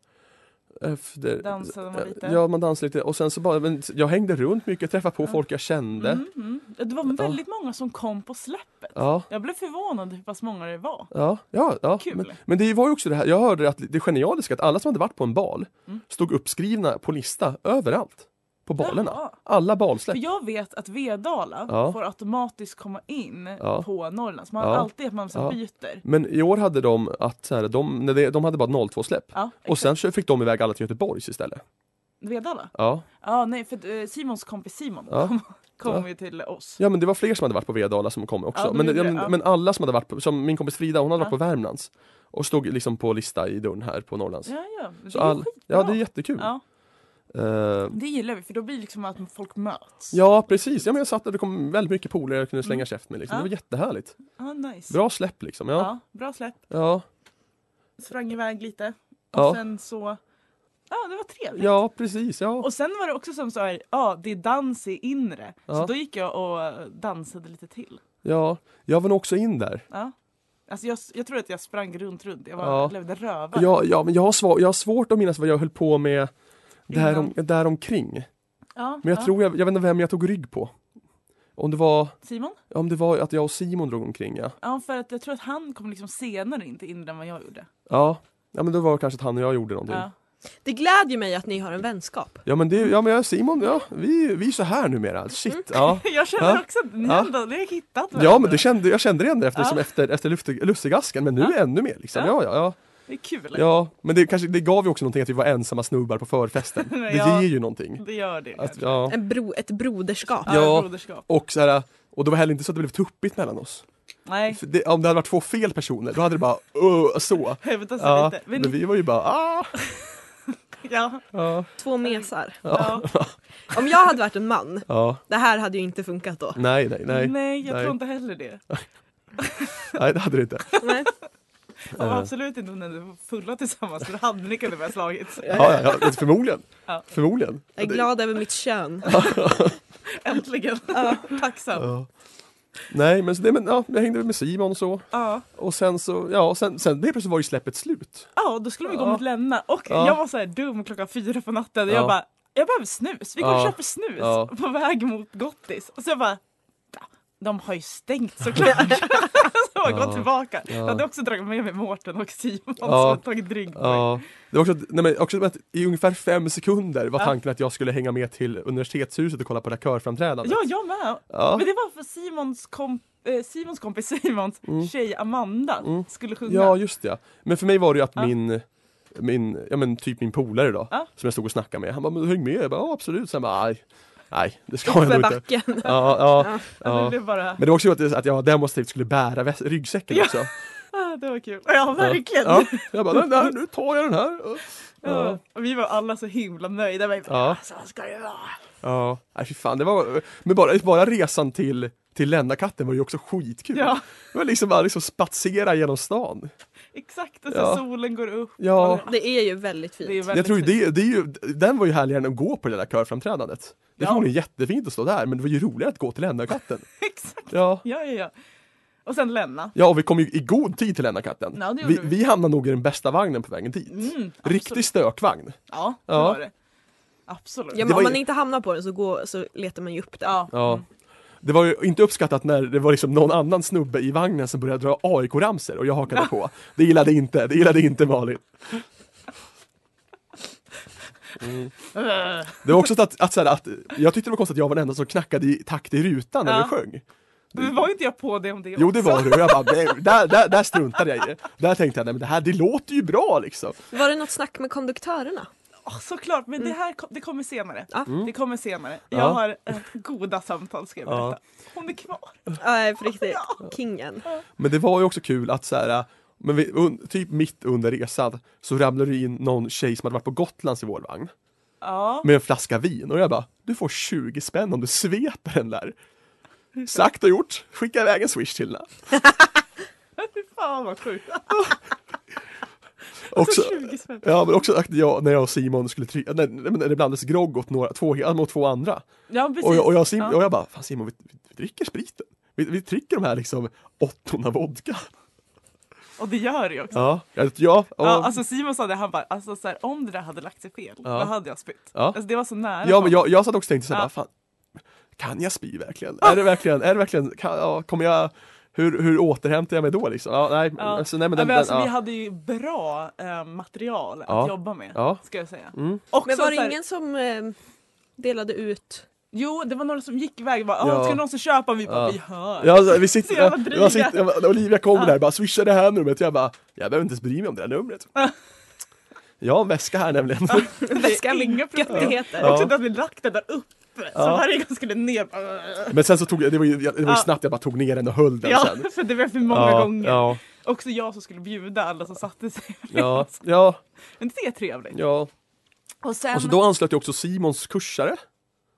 Speaker 2: Efter,
Speaker 4: Dansade man lite?
Speaker 2: Ja, man dansade lite. Och sen så bara, men jag hängde runt mycket, jag träffade på
Speaker 4: Ja.
Speaker 2: folk jag kände.
Speaker 4: Mm, mm. Ja, Det var väldigt många som kom på släppet.
Speaker 2: Ja.
Speaker 4: Jag blev förvånad hur pass många det var.
Speaker 2: Ja, ja, ja.
Speaker 4: Kul.
Speaker 2: Men, men det var ju också det här, jag hörde att det genialiska att alla som hade varit på en bal
Speaker 4: Mm.
Speaker 2: stod uppskrivna på lista överallt. På balerna.
Speaker 4: Ja.
Speaker 2: Alla
Speaker 4: För
Speaker 2: balsläpp.
Speaker 4: jag vet att Vedala
Speaker 2: Ja.
Speaker 4: får automatiskt komma in
Speaker 2: Ja.
Speaker 4: på Norrlands. Man
Speaker 2: Ja.
Speaker 4: har alltid att man så
Speaker 2: Ja. Mm.
Speaker 4: byter.
Speaker 2: Men i år hade de att så här, de, nej, det- de hade bara 02-släpp.
Speaker 4: Ja,
Speaker 2: Och sen så fick de iväg alla till Göteborgs istället.
Speaker 4: Vedala?
Speaker 2: Ja.
Speaker 4: Ja, nej, för eh, Simons kompis Simon
Speaker 2: Ja.
Speaker 4: kom, (laughs) kom
Speaker 2: Ja.
Speaker 4: ju till oss.
Speaker 2: ja men det var fler som hade varit på Vedala som kom också.
Speaker 4: Ja, de
Speaker 2: men,
Speaker 4: gjorde
Speaker 2: ja,
Speaker 4: det,
Speaker 2: men,
Speaker 4: ja.
Speaker 2: men alla som hade varit på, som min kompis Frida, hon hade
Speaker 4: Ja.
Speaker 2: varit på Värmlands. Och stod liksom på lista i dörren här på Norrlands.
Speaker 4: Ja, ja. men
Speaker 2: Så
Speaker 4: det är
Speaker 2: all-
Speaker 4: skitbra.
Speaker 2: ja det är jättekul. Ja,
Speaker 4: Ja, det gillar vi för då blir det liksom att folk möts.
Speaker 2: Eh, ja precis, ja, men jag satt där, det kom väldigt mycket polare jag kunde slänga käft med liksom.
Speaker 4: Mm. Ja.
Speaker 2: Det var jättehärligt.
Speaker 4: Ja, nice.
Speaker 2: Bra släpp liksom. Ja.
Speaker 4: Ja, bra släpp.
Speaker 2: Ja.
Speaker 4: Sprang iväg lite. Och
Speaker 2: Ja.
Speaker 4: sen så... Ja, det var trevligt.
Speaker 2: Ja, precis. Ja.
Speaker 4: Och sen var det också som så här, ja det är dans i inre.
Speaker 2: Ja.
Speaker 4: Så då gick jag och dansade lite till.
Speaker 2: Ja, jag var nog också in där.
Speaker 4: Ja. Alltså jag, jag tror att jag sprang runt, runt. Jag var,
Speaker 2: Ja.
Speaker 4: levde rövare.
Speaker 2: Ja, ja, men jag har, svår, jag har svårt att minnas vad jag höll på med där, om,
Speaker 4: Innan.
Speaker 2: där omkring.
Speaker 4: Ja,
Speaker 2: Men jag
Speaker 4: ja.
Speaker 2: tror, jag, jag vet inte vem jag tog rygg på. Om det var,
Speaker 4: Simon?
Speaker 2: om det var att jag och Simon drog omkring ja.
Speaker 4: Ja, för att jag tror att han kom liksom senare in till Indien än vad jag gjorde.
Speaker 2: Ja, ja men det var kanske att han och jag gjorde någonting.
Speaker 4: Ja. (laughs)
Speaker 2: Ja,
Speaker 3: Det glädjer mig att ni har en vänskap.
Speaker 2: men, det, ja, men jag, Simon, ja, vi, vi är så här numera.
Speaker 4: Mm.
Speaker 2: Shit, ja.
Speaker 4: Jag känner
Speaker 2: Ja.
Speaker 4: också att ni
Speaker 2: Ja.
Speaker 4: ändå, ni har hittat
Speaker 2: Ja men det kände, jag kände det ändå efter,
Speaker 4: Ja.
Speaker 2: som efter, efter luftig- lussegasken, men nu
Speaker 4: Ja.
Speaker 2: ännu mer liksom. Ja, ja, ja.
Speaker 4: Det är kul.
Speaker 2: ja. Men det, kanske, det gav ju också någonting att vi var ensamma snubbar på förfesten.
Speaker 4: Men
Speaker 2: Det
Speaker 4: (laughs) ja.
Speaker 2: ger ju någonting.
Speaker 4: Det gör det.
Speaker 2: Att,
Speaker 4: kanske.
Speaker 2: ja.
Speaker 3: En bro, ett broderskap.
Speaker 4: Ja,
Speaker 2: Ja.
Speaker 4: broderskap.
Speaker 2: Och så här, och det var heller inte så att det blev tuppigt mellan oss.
Speaker 4: Nej,
Speaker 2: För Det, om det hade varit två fel personer, då hade det bara uh,
Speaker 4: (laughs)
Speaker 2: så.
Speaker 4: hävda sig
Speaker 2: Ja,
Speaker 4: lite. Men,
Speaker 2: men vi var ju bara ah,
Speaker 4: ja,
Speaker 2: ja,
Speaker 3: Två mesar.
Speaker 4: ja.
Speaker 3: Om jag hade varit en man,
Speaker 2: ja,
Speaker 3: det här hade ju inte funkat då.
Speaker 2: nej, nej, (laughs)
Speaker 4: Nej,
Speaker 2: nej,
Speaker 4: jag
Speaker 2: nej.
Speaker 4: tror inte
Speaker 2: (laughs)
Speaker 4: heller det.
Speaker 2: nej, det hade det inte.
Speaker 3: Nej.
Speaker 4: Och absolut inte om ni hade varit fulla tillsammans för då hade ni kunnat börja slagits.
Speaker 2: Ja, ja, ja, förmodligen.
Speaker 4: Ja.
Speaker 2: Förmodligen.
Speaker 3: Jag är glad över mitt kön.
Speaker 4: Äntligen. (laughs) Tacksam.
Speaker 2: Ja. Nej, men, så det, men ja, jag hängde med Simon och så.
Speaker 4: Ja.
Speaker 2: Och sen så, ja, sen, sen det plötsligt var ju släppet slut.
Speaker 4: ja, då skulle vi gå
Speaker 2: Ja.
Speaker 4: mot Lenna och
Speaker 2: Ja.
Speaker 4: jag var så här dum klockan fyra på natten och
Speaker 2: Ja.
Speaker 4: jag bara jag behöver snus, vi går och
Speaker 2: Ja.
Speaker 4: köper snus
Speaker 2: Ja.
Speaker 4: på väg mot Gottis. Och så jag bara "Ja, de har ju stängt såklart.
Speaker 2: (laughs)
Speaker 4: (laughs) så jag
Speaker 2: Ja.
Speaker 4: gått tillbaka.
Speaker 2: Ja.
Speaker 4: Jag hade också dragit med mig Mårten och Simon som
Speaker 2: Ja.
Speaker 4: hade tagit drink på mig.
Speaker 2: Ja. Det var också, att- nej, men också att i ungefär fem sekunder var tanken att jag skulle hänga med till universitetshuset och kolla på det här körframträdandet.
Speaker 4: Ja, jag med.
Speaker 2: Ja.
Speaker 4: Men det var för Simons, komp eh, Simons kompis Simons tjej Amanda skulle sjunga.
Speaker 2: Mm. Ja, just det. Men för mig var det ju att
Speaker 4: Ja.
Speaker 2: min, min, ja men typ min polare då,
Speaker 4: Ja.
Speaker 2: som jag stod och snackade med, han bara men häng med, jag bara ja, absolut, sen bara nej, nej det ska jag
Speaker 3: För
Speaker 2: nog inte.
Speaker 3: backen.
Speaker 2: Ja, ja,
Speaker 4: Ja, det
Speaker 2: ja.
Speaker 4: blev bara,
Speaker 2: Men det var också att, att jag demonstrativt skulle bära väs- ryggsäcken
Speaker 4: Ja. (laughs)
Speaker 2: också.
Speaker 4: ah, det var kul. Ja, verkligen.
Speaker 2: Ja. Jag bara, den där, nu tar jag den här.
Speaker 4: Ja.
Speaker 2: Ja.
Speaker 4: Och vi var alla så himla nöjda. Vi bara,
Speaker 2: Ja.
Speaker 4: ja. Så ska det vara.
Speaker 2: Ja, nej fy fan, det var, men bara, bara resan till, till Lennakatten var ju också skitkul.
Speaker 4: Ja,
Speaker 2: Det var liksom bara liksom spatsera genom stan.
Speaker 4: exakt. Och så
Speaker 2: Ja.
Speaker 4: solen går upp.
Speaker 2: Ja.
Speaker 4: Och
Speaker 3: Det är ju väldigt
Speaker 4: det, det är
Speaker 3: fint.
Speaker 4: väldigt
Speaker 2: Jag tror ju
Speaker 4: fint.
Speaker 2: det, det är ju, den var ju härligare än att gå på det där körframträdandet. Det
Speaker 4: Ja.
Speaker 2: var ju jättefint att stå där, men det var ju roligare att gå till Lennakatten.
Speaker 4: exakt.
Speaker 2: Ja.
Speaker 4: (laughs) Ja, ja, ja. Och sen Lenna.
Speaker 2: ja, och vi kom ju i god tid till Lennakatten.
Speaker 4: Ja, det gjorde
Speaker 2: vi,
Speaker 4: vi.
Speaker 2: vi hamnade nog i den bästa vagnen på vägen dit.
Speaker 4: Mm,
Speaker 2: Riktig stökvagn.
Speaker 4: Ja, det
Speaker 2: Ja.
Speaker 4: var det. Absolut.
Speaker 3: Ja,
Speaker 4: Ja.
Speaker 3: men
Speaker 2: Det var
Speaker 3: om
Speaker 2: ju-
Speaker 3: man inte hamnar på den så, går, så letar man ju upp den.
Speaker 4: Ja.
Speaker 2: Ja. Mm. Det var ju inte uppskattat när det var liksom någon annan snubbe i vagnen som började dra AIK-ramsor och jag hakade
Speaker 4: (laughs)
Speaker 2: på. Det gillade inte, det gillade inte Malin.
Speaker 4: Äh.
Speaker 2: Det var också så att, att, så här, att jag tyckte det var konstigt att jag var den enda som knackade i takt i rutan när
Speaker 4: Ja.
Speaker 2: vi sjöng.
Speaker 4: Men var inte jag på det om det
Speaker 2: Jo det
Speaker 4: också?
Speaker 2: var du, jag bara, "Nej, där, där, där struntade jag i det. Där tänkte jag, nej men det här det låter ju bra liksom.
Speaker 3: Var det något snack med konduktörerna?
Speaker 2: (laughs)
Speaker 4: Ja, Ah, såklart, men det här kom, det kommer senare.
Speaker 3: Mm. Ja.
Speaker 4: Det kommer senare.
Speaker 2: Mm. Ja.
Speaker 4: Jag har eh, goda samtal ska jag
Speaker 2: Ja.
Speaker 4: berätta. Hon är kvar.
Speaker 3: Nej, på riktigt. Kingen.
Speaker 2: Men det var ju också kul att så här, men vi, un, typ mitt under resan så ramlade det in någon tjej som hade varit på Gotlands i vår vagn
Speaker 4: Ja.
Speaker 2: med en flaska vin och jag bara, du får 20 spänn om du sveper den där. Sagt och gjort, skicka iväg en swish till henne.
Speaker 4: Fy fan
Speaker 2: (laughs)
Speaker 4: vad sjukt.
Speaker 2: Också,
Speaker 4: 20 spänn.
Speaker 2: ja men också att jag, när jag och Simon skulle trycka, när, när det blandades grogg åt några, två, mot två andra.
Speaker 4: Ja, precis.
Speaker 2: Och jag, och, jag, sim,
Speaker 4: Ja.
Speaker 2: och jag bara, fan Simon, vi, vi, vi dricker spriten. Vi, vi dricker de här liksom åttorna vodka.
Speaker 4: Och det gör det också.
Speaker 2: Ja, ja, ja, och,
Speaker 4: Ja, alltså Simon sa det, han bara alltså, så här, om det där hade lagt sig fel,
Speaker 2: Ja.
Speaker 4: då hade jag spytt.
Speaker 2: Ja.
Speaker 4: Alltså, det var så nära.
Speaker 2: ja men jag, jag satt också och tänkte såhär,
Speaker 4: Ja.
Speaker 2: bara, fan, kan jag spy verkligen? Är det verkligen, är det verkligen, kan, ja, kommer jag, hur, hur återhämtar jag mig då liksom? Ja, nej,
Speaker 4: Ja.
Speaker 2: Alltså, nej men
Speaker 4: ja,
Speaker 2: den,
Speaker 4: men alltså,
Speaker 2: den,
Speaker 4: Vi
Speaker 2: ja.
Speaker 4: hade ju bra eh, material att
Speaker 2: Ja.
Speaker 4: jobba med,
Speaker 2: Ja.
Speaker 4: ska jag säga.
Speaker 2: Mm.
Speaker 4: Också
Speaker 3: Men var det
Speaker 4: så här-
Speaker 3: ingen som eh, delade ut?
Speaker 4: Jo, det var några som gick iväg och bara,
Speaker 2: Ja.
Speaker 4: ja. ska någon som köpa? Vi bara,
Speaker 2: Ja.
Speaker 4: vi hör.
Speaker 2: Ja, alltså, vi
Speaker 4: (laughs) Så
Speaker 2: sitter,
Speaker 4: jävla
Speaker 2: jag,
Speaker 4: dryga.
Speaker 2: jag sitter, jag, bara, Olivia kommer
Speaker 4: Ja.
Speaker 2: där och bara swishar det här numret, jag bara, jag behöver inte ens bry mig om det där numret. Jag har en väska här nämligen.
Speaker 4: Det är inga problem.
Speaker 3: Göttigheter.
Speaker 2: Ja.
Speaker 4: Också att vi lagt den där uppe, så
Speaker 2: Ja.
Speaker 4: varje gång skulle ner bara,
Speaker 2: Men sen så tog jag, det var ju, det var
Speaker 4: Ja.
Speaker 2: ju snabbt jag bara tog ner den och höll den
Speaker 4: (laughs) Ja,
Speaker 2: sen.
Speaker 4: för det var för många
Speaker 2: ja,
Speaker 4: gånger.
Speaker 2: Ja,
Speaker 4: Också jag som skulle bjuda alla som satte sig. (laughs)
Speaker 2: ja, ja,
Speaker 4: Men det är trevligt.
Speaker 2: ja.
Speaker 4: Och sen,
Speaker 2: Och så då anslöt jag också Simons kursare.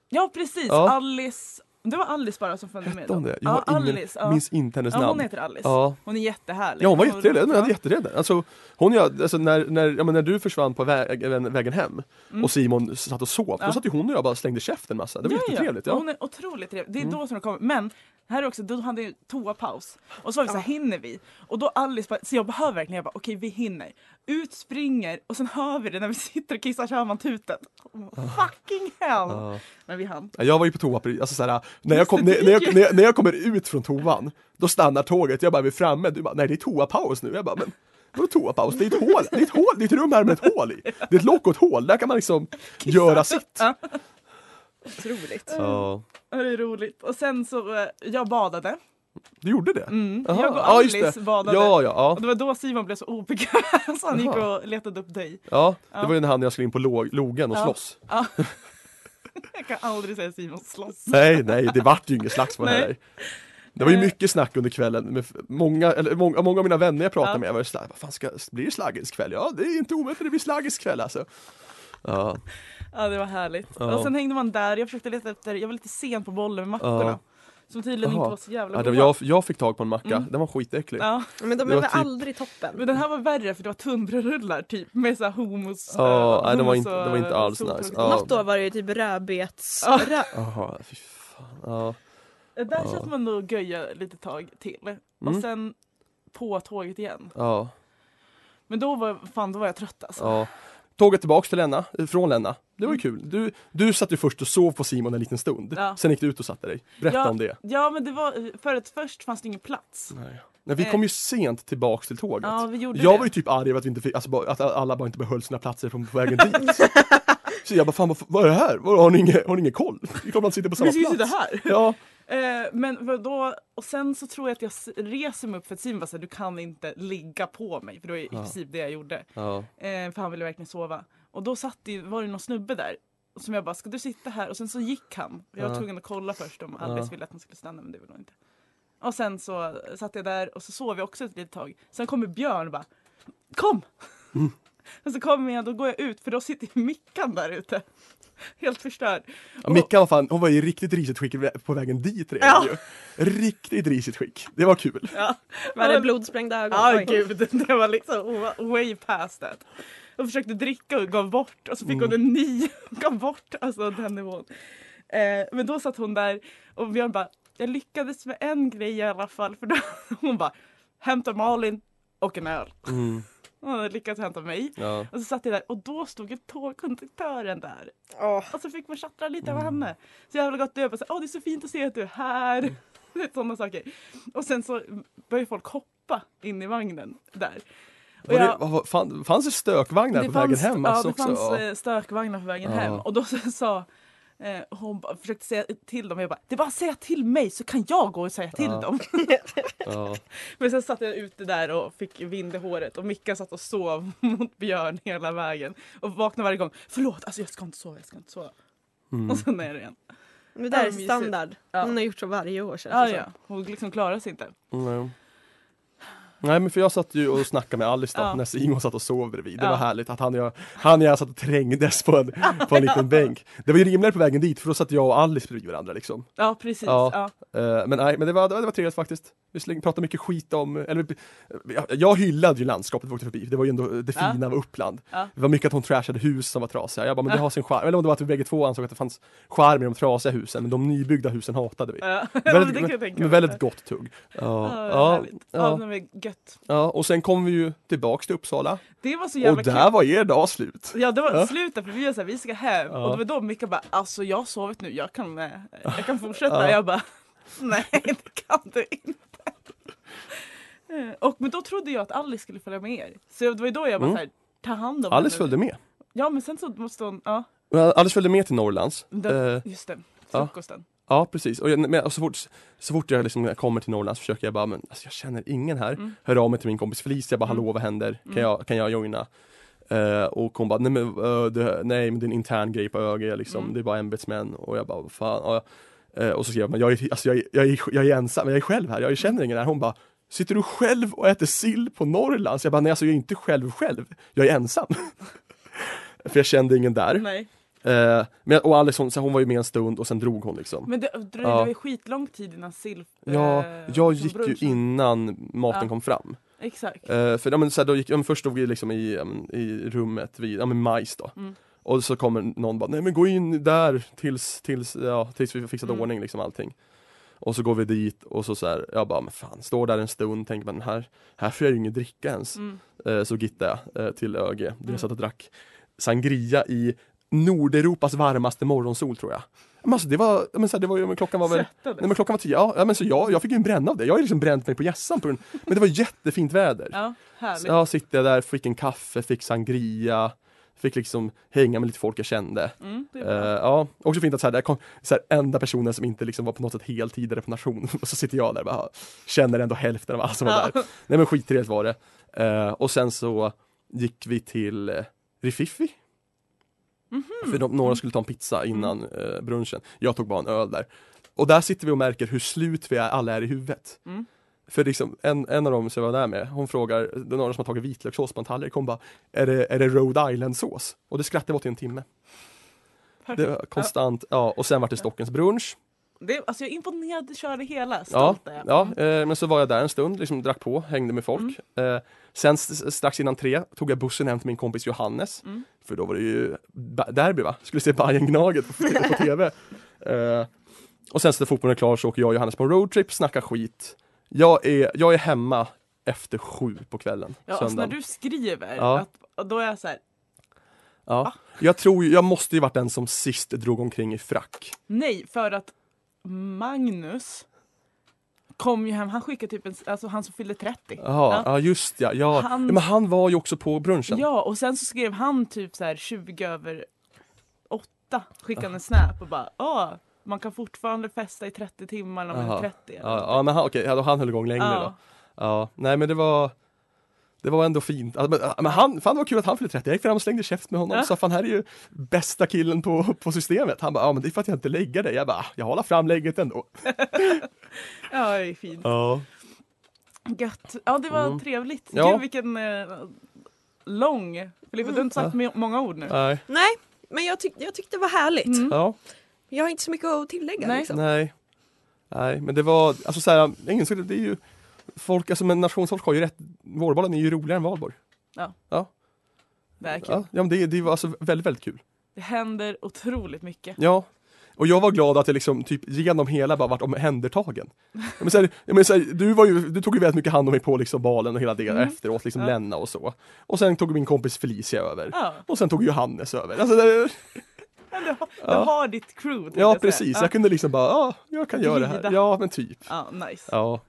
Speaker 4: ja precis,
Speaker 2: Ja.
Speaker 4: Alice. Det var Alice bara som följde med
Speaker 2: Hette hon
Speaker 4: då.
Speaker 2: det? Jag har
Speaker 4: ja,
Speaker 2: ingen,
Speaker 4: Alice, ja.
Speaker 2: minns inte hennes
Speaker 4: ja,
Speaker 2: namn.
Speaker 4: hon heter Alice.
Speaker 2: Ja.
Speaker 4: Hon är jättehärlig.
Speaker 2: Ja hon var
Speaker 4: rolig.
Speaker 2: jätterädd, hon
Speaker 4: Ja.
Speaker 2: hade jätterädd. Alltså, hon, gör- alltså när, när, ja, men när du försvann på vägen, vägen hem och Simon satt och sov,
Speaker 4: Mm. Ja.
Speaker 2: då satt ju hon och jag bara slängde käften massa. Det var
Speaker 4: Ja, ja.
Speaker 2: jättetrevligt.
Speaker 4: Och
Speaker 2: Ja. Mm.
Speaker 4: Hon är otroligt trevlig. Det är då som det kommer. Men Här är också, då hade jag toapaus. Och så var vi så här, hinner vi? Och då Alice bara, så jag behöver verkligen, jag bara okej vi hinner. Ut springer och sen hör vi det när vi (laughs) sitter och kissar så hör man tutet. Oh,
Speaker 2: Ah.
Speaker 4: fucking hell!
Speaker 2: Ja.
Speaker 4: Men vi hann.
Speaker 2: Ja, Jag var ju på toa, precis- alltså såhär, när, jag kom, när, när, jag, när, jag, när jag kommer ut från toan, då stannar tåget, jag bara, vi är framme, du bara, nej det är toapaus nu, jag bara, men vadå toapaus, det är ett hål, det är ett hål, det är ett rum här med ett hål i, det är ett lock och ett hål, där kan man liksom göra sitt.
Speaker 4: Ja.
Speaker 3: Otroligt.
Speaker 2: Ja.
Speaker 4: Ja, Det är roligt. Och sen så, eh, jag badade.
Speaker 2: Du gjorde det?
Speaker 4: Mm.
Speaker 2: Jaha.
Speaker 4: Jag och
Speaker 2: Ja, just
Speaker 4: Alice
Speaker 2: det.
Speaker 4: badade.
Speaker 2: Ja, ja, ja,
Speaker 4: Och det var då Simon blev så obekväm (laughs) så han gick
Speaker 2: Jaha.
Speaker 4: och letade upp dig.
Speaker 2: ja, det
Speaker 4: Ja.
Speaker 2: var ju när han och jag skulle in på log- logen och
Speaker 4: Ja.
Speaker 2: slåss.
Speaker 4: Ja. Jag kan aldrig säga Simon slåss.
Speaker 2: Nej, nej, det vart ju inget slagsmål
Speaker 4: Nej.
Speaker 2: heller. Det var ju
Speaker 4: Eh.
Speaker 2: mycket snack under kvällen med f- många, eller många, många av mina vänner jag pratade
Speaker 4: Ja.
Speaker 2: med var ju såhär, vad fan ska, blir det slaggiskväll? Ja, det är inte omöjligt att det blir slaggiskväll alltså. Ja,
Speaker 4: Ja det var härligt.
Speaker 2: Ja.
Speaker 4: Och sen hängde man där, jag försökte leta efter, jag var lite sen på bollen med mackorna.
Speaker 2: Ja.
Speaker 4: Som tydligen
Speaker 2: Jaha.
Speaker 4: inte var så jävla
Speaker 2: ja det,
Speaker 4: goda.
Speaker 2: var- jag, jag fick tag på en macka,
Speaker 4: Mm.
Speaker 2: den var skitäcklig.
Speaker 4: Ja.
Speaker 3: Men de
Speaker 2: Det
Speaker 3: är
Speaker 2: var
Speaker 3: väl
Speaker 2: typ-
Speaker 3: aldrig toppen?
Speaker 4: Men den här var värre för det var tunnbrödsrullar typ med så här hummus.
Speaker 2: Ja,
Speaker 4: eh,
Speaker 2: nej, det var
Speaker 4: hummus
Speaker 2: inte- det var
Speaker 4: och
Speaker 2: inte alls
Speaker 4: soltork.
Speaker 2: nice. Ja.
Speaker 3: Något år var det ju typ rödbets...
Speaker 4: Ja.
Speaker 3: Rö...
Speaker 2: Jaha, fy fan. Ja.
Speaker 4: Där
Speaker 2: Ja.
Speaker 4: kände man nog göja lite tag till.
Speaker 2: Mm.
Speaker 4: Och sen på tåget igen.
Speaker 2: Ja,
Speaker 4: Men då var, fan, då var jag trött alltså.
Speaker 2: ja. Tåget tillbaks till Länna, eh, från Länna. Det var ju kul. Du, du satt ju först och sov på Simon en liten stund.
Speaker 4: Mm. Ja.
Speaker 2: Sen gick du ut och satte dig. Berätta
Speaker 4: Ja.
Speaker 2: om det.
Speaker 4: Ja men det var, för att först fanns det ingen plats.
Speaker 2: Nej. Nej, vi
Speaker 4: Eh.
Speaker 2: kom ju sent tillbaks till tåget.
Speaker 4: Ja vi gjorde
Speaker 2: Jag
Speaker 4: det.
Speaker 2: var ju typ arg över att, vi inte fick, alltså, bara, att alla bara inte behöll sina platser från på
Speaker 4: (laughs)
Speaker 2: vägen dit. Så jag bara, fan vad, vad är det här? Vad- Har ni ingen, har ni ingen koll? Det är klart man sitter på samma
Speaker 4: Vi ska ju sitta
Speaker 2: plats.
Speaker 4: här.
Speaker 2: Ja,
Speaker 4: Eh, men vad då, och sen så tror jag att jag s- reser mig upp för att Simon bara såhär, du kan inte ligga på mig. För det var ju i princip det jag gjorde.
Speaker 2: ja.
Speaker 4: Eh, för han ville verkligen sova. Och då satt det, ju- var det någon snubbe där. Som jag bara, ska du sitta här? Och sen så gick han. Jag var
Speaker 2: Ja.
Speaker 4: tvungen att kolla först om Alice
Speaker 2: Ja.
Speaker 4: ville att han skulle stanna men det ville hon inte. Och sen så satt jag där och så sov jag också ett litet tag. Sen kommer Björn och bara, kom!
Speaker 2: Mm.
Speaker 4: (laughs) och så kommer jag, då går jag ut för då sitter ju Mickan där ute. Helt förstörd.
Speaker 2: Ja, Mickan var fan, hon var i riktigt risigt skick på vägen dit redan
Speaker 4: Ja.
Speaker 2: ju. Riktigt risigt skick. Det var kul.
Speaker 4: Ja.
Speaker 3: Var det blodsprängda ögon?
Speaker 4: Ja
Speaker 3: Oj.
Speaker 4: gud, (laughs) det var liksom wa- way past that. Hon försökte dricka och gav bort och så fick hon en ny och gav bort, alltså den nivån. Eh, men då satt hon där och Björn bara, jag lyckades med en grej i alla fall för då, (laughs) hon bara, hämta Malin och en öl. Hon hade lyckats hämta mig.
Speaker 2: Mm, Ja.
Speaker 4: Och så satt jag där och då stod ju tågkonduktören där.
Speaker 3: Åh.
Speaker 4: Och så fick man tjattra lite
Speaker 2: Mm.
Speaker 4: med henne. Så jävla gott det. Jag bara så här, Åh det är så fint att se att du är här. (laughs) Du vet, Sådana saker. Och sen så började folk hoppa in i vagnen där. Och
Speaker 2: Var det,
Speaker 4: jag-
Speaker 2: vad var- fan, fanns det stökvagnar på vägen hem alltså
Speaker 4: ja, det
Speaker 2: också?
Speaker 4: fanns eh, stökvagnar på vägen
Speaker 2: Ja.
Speaker 4: hem. Och då så, (laughs) sa eh, hon bara- försökte säga till dem. Jag bara, det är bara att säga till mig så kan jag gå och säga till
Speaker 2: Ja.
Speaker 4: dem.
Speaker 2: ja.
Speaker 4: Men sen satt jag ute där och fick vind i håret och Mickan satt och sov (laughs) mot Björn hela vägen. Och vaknade varje gång. Förlåt, alltså jag ska inte sova, jag ska inte sova.
Speaker 2: Mm.
Speaker 4: Och sen är det igen.
Speaker 3: Men det där är
Speaker 4: Ja, mysigt.
Speaker 3: standard.
Speaker 4: Ja.
Speaker 3: Hon har gjort så varje år känns
Speaker 4: Ja,
Speaker 3: det
Speaker 4: ja. Hon liksom klarar sig inte.
Speaker 2: Nej. Nej men för jag satt ju och snackade med Alice då,
Speaker 4: Ja.
Speaker 2: när Simon satt och sov bredvid. Det
Speaker 4: Ja.
Speaker 2: var härligt att han och jag, han och jag satt och trängdes på en, på en liten bänk. Det var ju rimligare på vägen dit för då satt jag och Alice bredvid varandra liksom.
Speaker 4: Ja, precis.
Speaker 2: Ja.
Speaker 4: Ja.
Speaker 2: Eh, men nej, men det var, det var trevligt faktiskt. Vi pratade mycket skit om, eller vi- jag, jag hyllade ju landskapet vi åkte förbi, det var ju ändå det
Speaker 4: Ja.
Speaker 2: fina av Uppland.
Speaker 4: Ja.
Speaker 2: Det var mycket att hon trashade hus som var trasiga, jag bara men det
Speaker 4: Ja.
Speaker 2: har sin charm, eller om det var att vi bägge två ansåg att det fanns charm i de trasiga husen, men de nybyggda husen hatade vi.
Speaker 4: Ja. (laughs) men det
Speaker 2: Väldigt,
Speaker 4: kan jag
Speaker 2: men,
Speaker 4: tänka
Speaker 2: men
Speaker 4: mig.
Speaker 2: väldigt gott tugg.
Speaker 4: Ja,
Speaker 2: ja,
Speaker 4: härligt. ja.
Speaker 2: ja,
Speaker 4: men vad gött.
Speaker 2: ja, och sen kom vi ju tillbaks till Uppsala
Speaker 4: Det var så jävla
Speaker 2: och där
Speaker 4: kul.
Speaker 2: var er dag slut.
Speaker 4: Ja det var
Speaker 2: Ja.
Speaker 4: slut där för vi var såhär, vi ska hem
Speaker 2: Ja.
Speaker 4: och det var då Micke bara alltså jag har sovit nu, jag kan, eh, jag kan fortsätta.
Speaker 2: Ja.
Speaker 4: Jag bara nej det kan du inte. Eh, Och men då trodde jag att Alice skulle följa med er. Så det var ju då jag bara
Speaker 2: Mm.
Speaker 4: såhär, ta hand om
Speaker 2: Alice
Speaker 4: henne.
Speaker 2: följde med.
Speaker 4: Ja men sen så måste hon, ja
Speaker 2: Ja, Alice följde med till Norrlands.
Speaker 4: den,
Speaker 2: Eh,
Speaker 4: just det,
Speaker 2: ja.
Speaker 4: frukosten.
Speaker 2: Ja precis, och, jag, men, och så, fort, så fort jag liksom kommer till Norrland så försöker jag bara, men alltså, jag känner ingen här.
Speaker 4: Mm.
Speaker 2: Hör av mig till min kompis Felicia, bara hallå
Speaker 4: Mm.
Speaker 2: vad händer? Kan,
Speaker 4: Mm.
Speaker 2: jag, kan jag joina? Eh, och hon bara, nej men, eh, det, nej men det är en intern grej på ÖG liksom,
Speaker 4: Mm.
Speaker 2: det är bara ämbetsmän och jag bara, vad fan. Och, jag, eh, och så skrev jag, men jag, är- alltså, jag, är- jag, är- jag är ensam, jag är själv här, jag känner ingen här. Hon bara, sitter du själv och äter sill på Norrland? Så jag bara, nej alltså jag är inte själv själv, jag är ensam. (laughs) För jag kände ingen där.
Speaker 4: Nej.
Speaker 2: Eh, men, och Alice hon, så hon var ju med en stund och sen drog hon liksom.
Speaker 4: Men det, det
Speaker 2: Ja.
Speaker 4: var ju skitlång tid innan Silf...
Speaker 2: Ja,
Speaker 4: eh,
Speaker 2: jag
Speaker 4: liksom
Speaker 2: gick ju
Speaker 4: brunchen.
Speaker 2: innan maten
Speaker 4: Ja.
Speaker 2: kom fram.
Speaker 4: Exakt.
Speaker 2: Eh, för ja, men, så här, då gick, ja, men, först stod vi liksom i, ja, men, i rummet vid ja, men, majs då.
Speaker 4: Mm.
Speaker 2: Och så kommer någon bara, nej men gå in där tills, tills, ja, tills vi fixat
Speaker 4: Mm.
Speaker 2: ordning liksom allting. Och så går vi dit och så, så här, jag bara, men fan, står där en stund, tänker man, här, här får jag ju inget dricka ens.
Speaker 4: Mm.
Speaker 2: Eh, så gittade jag eh, till ÖG, där jag satt och drack sangria i Nordeuropas varmaste morgonsol tror jag. Men alltså det var, ja, men så här, det var ju, men klockan var väl Nej men klockan var tio, ja, ja men så jag, jag fick ju en bränna av det. Jag har ju liksom bränt mig på hjässan på grund, men det var jättefint väder.
Speaker 4: Ja, härligt.
Speaker 2: Så jag sitter jag där, fick en kaffe, fick sangria, fick liksom hänga med lite folk jag kände.
Speaker 4: Mm, det är
Speaker 2: Eh,
Speaker 4: bra.
Speaker 2: ja, också fint att så här, där kom så här, enda personen som inte liksom var på något sätt heltidare på nation (laughs) och så sitter jag där och bara känner ändå hälften av alla som var där. Nej men skittrevligt var det. Eh, och sen så gick vi till eh, Rififfi.
Speaker 4: Mhm.
Speaker 2: För de, några skulle ta en pizza innan eh, brunchen. Jag tog bara en öl där. Och där sitter vi och märker hur slut vi är, alla är i huvudet.
Speaker 4: Mm.
Speaker 2: För liksom, en, en av dem som jag var där med, hon frågar, det är några som har tagit vitlökssås på en tallrik, hon bara Är det, är det Rhode Island-sås? Och det skrattade vi åt i en timme. Det var konstant, ja. Och sen var det Stockens brunch.
Speaker 4: Det, är- alltså jag är imponerad, körde hela,
Speaker 2: Ja,
Speaker 4: stolt är jag.
Speaker 2: ja eh, men så var jag där en stund, liksom drack på, hängde med folk.
Speaker 4: Mm.
Speaker 2: Eh, sen s- strax innan tre tog jag bussen hem till min kompis Johannes.
Speaker 4: Mm.
Speaker 2: För då var det ju ba- derby va? Skulle se Bayern Gnaget på, på
Speaker 4: (laughs)
Speaker 2: TV. Eh, och sen så när fotbollen är klar så åker jag och Johannes på en roadtrip, snackar skit. Jag är, jag är hemma efter sju på kvällen.
Speaker 4: Ja, alltså när
Speaker 2: söndagen.
Speaker 4: du skriver,
Speaker 2: Ja.
Speaker 4: att, och då är jag så här, Ah.
Speaker 2: ja. Jag tror ju, jag måste ju varit den som sist drog omkring i frack.
Speaker 4: nej, för att Magnus kom ju hem, han skickade typ en, alltså han som fyllde 30.
Speaker 2: Jaha, ja.
Speaker 4: Ja.
Speaker 2: just ja. ja.
Speaker 4: Han-
Speaker 2: ja men han var ju också på brunchen.
Speaker 4: Ja, och sen så skrev han typ så här 20 över 8, skickade han en snap och bara Åh, man kan fortfarande festa i 30 timmar när man
Speaker 2: Aha.
Speaker 4: är 30. eller
Speaker 2: Ja,
Speaker 4: något."
Speaker 2: ja men han, okej, ja, då han höll igång längre
Speaker 4: Ja.
Speaker 2: då. Ja, nej men det var Det var ändå fint. Alltså, men, men han, fan det var kul att han fyllde 30. Jag gick fram och slängde käft med honom
Speaker 4: Ja.
Speaker 2: och sa fan här är ju bästa killen på, på systemet. Han bara, ja men det är för att jag inte lägger dig. Jag bara, "Ah, jag håller fram lägget ändå.
Speaker 4: ja, det är fint.
Speaker 2: Ja.
Speaker 4: Gött. Ja, det var
Speaker 2: Mm.
Speaker 4: trevligt.
Speaker 2: Ja.
Speaker 4: Gud, vilken eh, lång. Filippa, du har inte sagt med många ord nu.
Speaker 2: Nej.
Speaker 3: Nej, men jag, tyck- jag tyckte det var härligt.
Speaker 4: Mm.
Speaker 2: Ja,
Speaker 3: Jag har inte så mycket att tillägga.
Speaker 4: Nej.
Speaker 3: Liksom.
Speaker 2: nej. Nej, men det var, alltså så här, ingen skulle, det är ju Folk, alltså men nationsfolk har ju rätt. Vårbollen är ju roligare än valborg.
Speaker 4: Det är kul.
Speaker 2: Ja, ja men det, det var alltså väldigt, väldigt kul.
Speaker 4: Det händer otroligt mycket.
Speaker 2: Ja. Och jag var glad att jag liksom typ genom hela bara vart omhändertagen. Ja, Men så här, ja, men så här, du, var ju, du tog ju väldigt mycket hand om mig på liksom balen och hela det efteråt, liksom
Speaker 4: Mm. Ja.
Speaker 2: Lenna och så. Och sen tog min kompis Felicia över.
Speaker 4: Ja,
Speaker 2: Och sen tog Johannes över. Alltså, det,
Speaker 4: men du, har- du
Speaker 2: Ja.
Speaker 4: har ditt crew. tänkte
Speaker 2: ja
Speaker 4: jag säga.
Speaker 2: precis, jag kunde liksom bara, ja, jag kan göra det här.
Speaker 4: Glida.
Speaker 2: Ja, men typ.
Speaker 4: Ja, ja nice.
Speaker 2: Ja.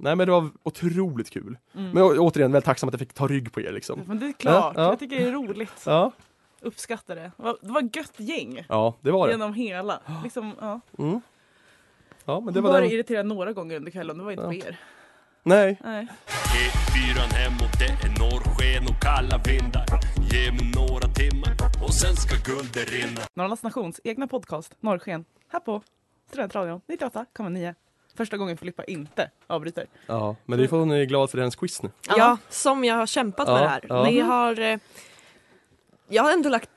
Speaker 2: Nej men det var otroligt kul.
Speaker 4: Mm.
Speaker 2: Men å- återigen, väldigt tacksam att jag fick ta rygg på er liksom.
Speaker 4: Men det är klart,
Speaker 2: Ja, ja.
Speaker 4: jag tycker det är roligt.
Speaker 2: Ja,
Speaker 4: Uppskattar det. Det var- Det var gött gäng.
Speaker 2: ja det var det.
Speaker 4: Genom hela. Liksom, ja.
Speaker 2: Mm. Ja, men det
Speaker 4: Det
Speaker 2: var
Speaker 4: var
Speaker 2: den.
Speaker 4: irriterad några gånger under kvällen, det var inte
Speaker 2: Ja.
Speaker 4: på er.
Speaker 2: Nej,
Speaker 4: Nej.
Speaker 1: E4 hemåt, det är norrsken och kalla vindar. Ge mig några timmar och sen ska guldet rinna.
Speaker 4: Norrlands Nations egna podcast Norrsken här på Studentradion 98,9. Första gången Filippa inte avbryter.
Speaker 2: ja, men det får ni är glad för hennes quiz nu.
Speaker 3: Ja. som jag har kämpat
Speaker 2: Ja,
Speaker 3: med det här.
Speaker 2: ja.
Speaker 3: Det har, eh, jag har ändå lagt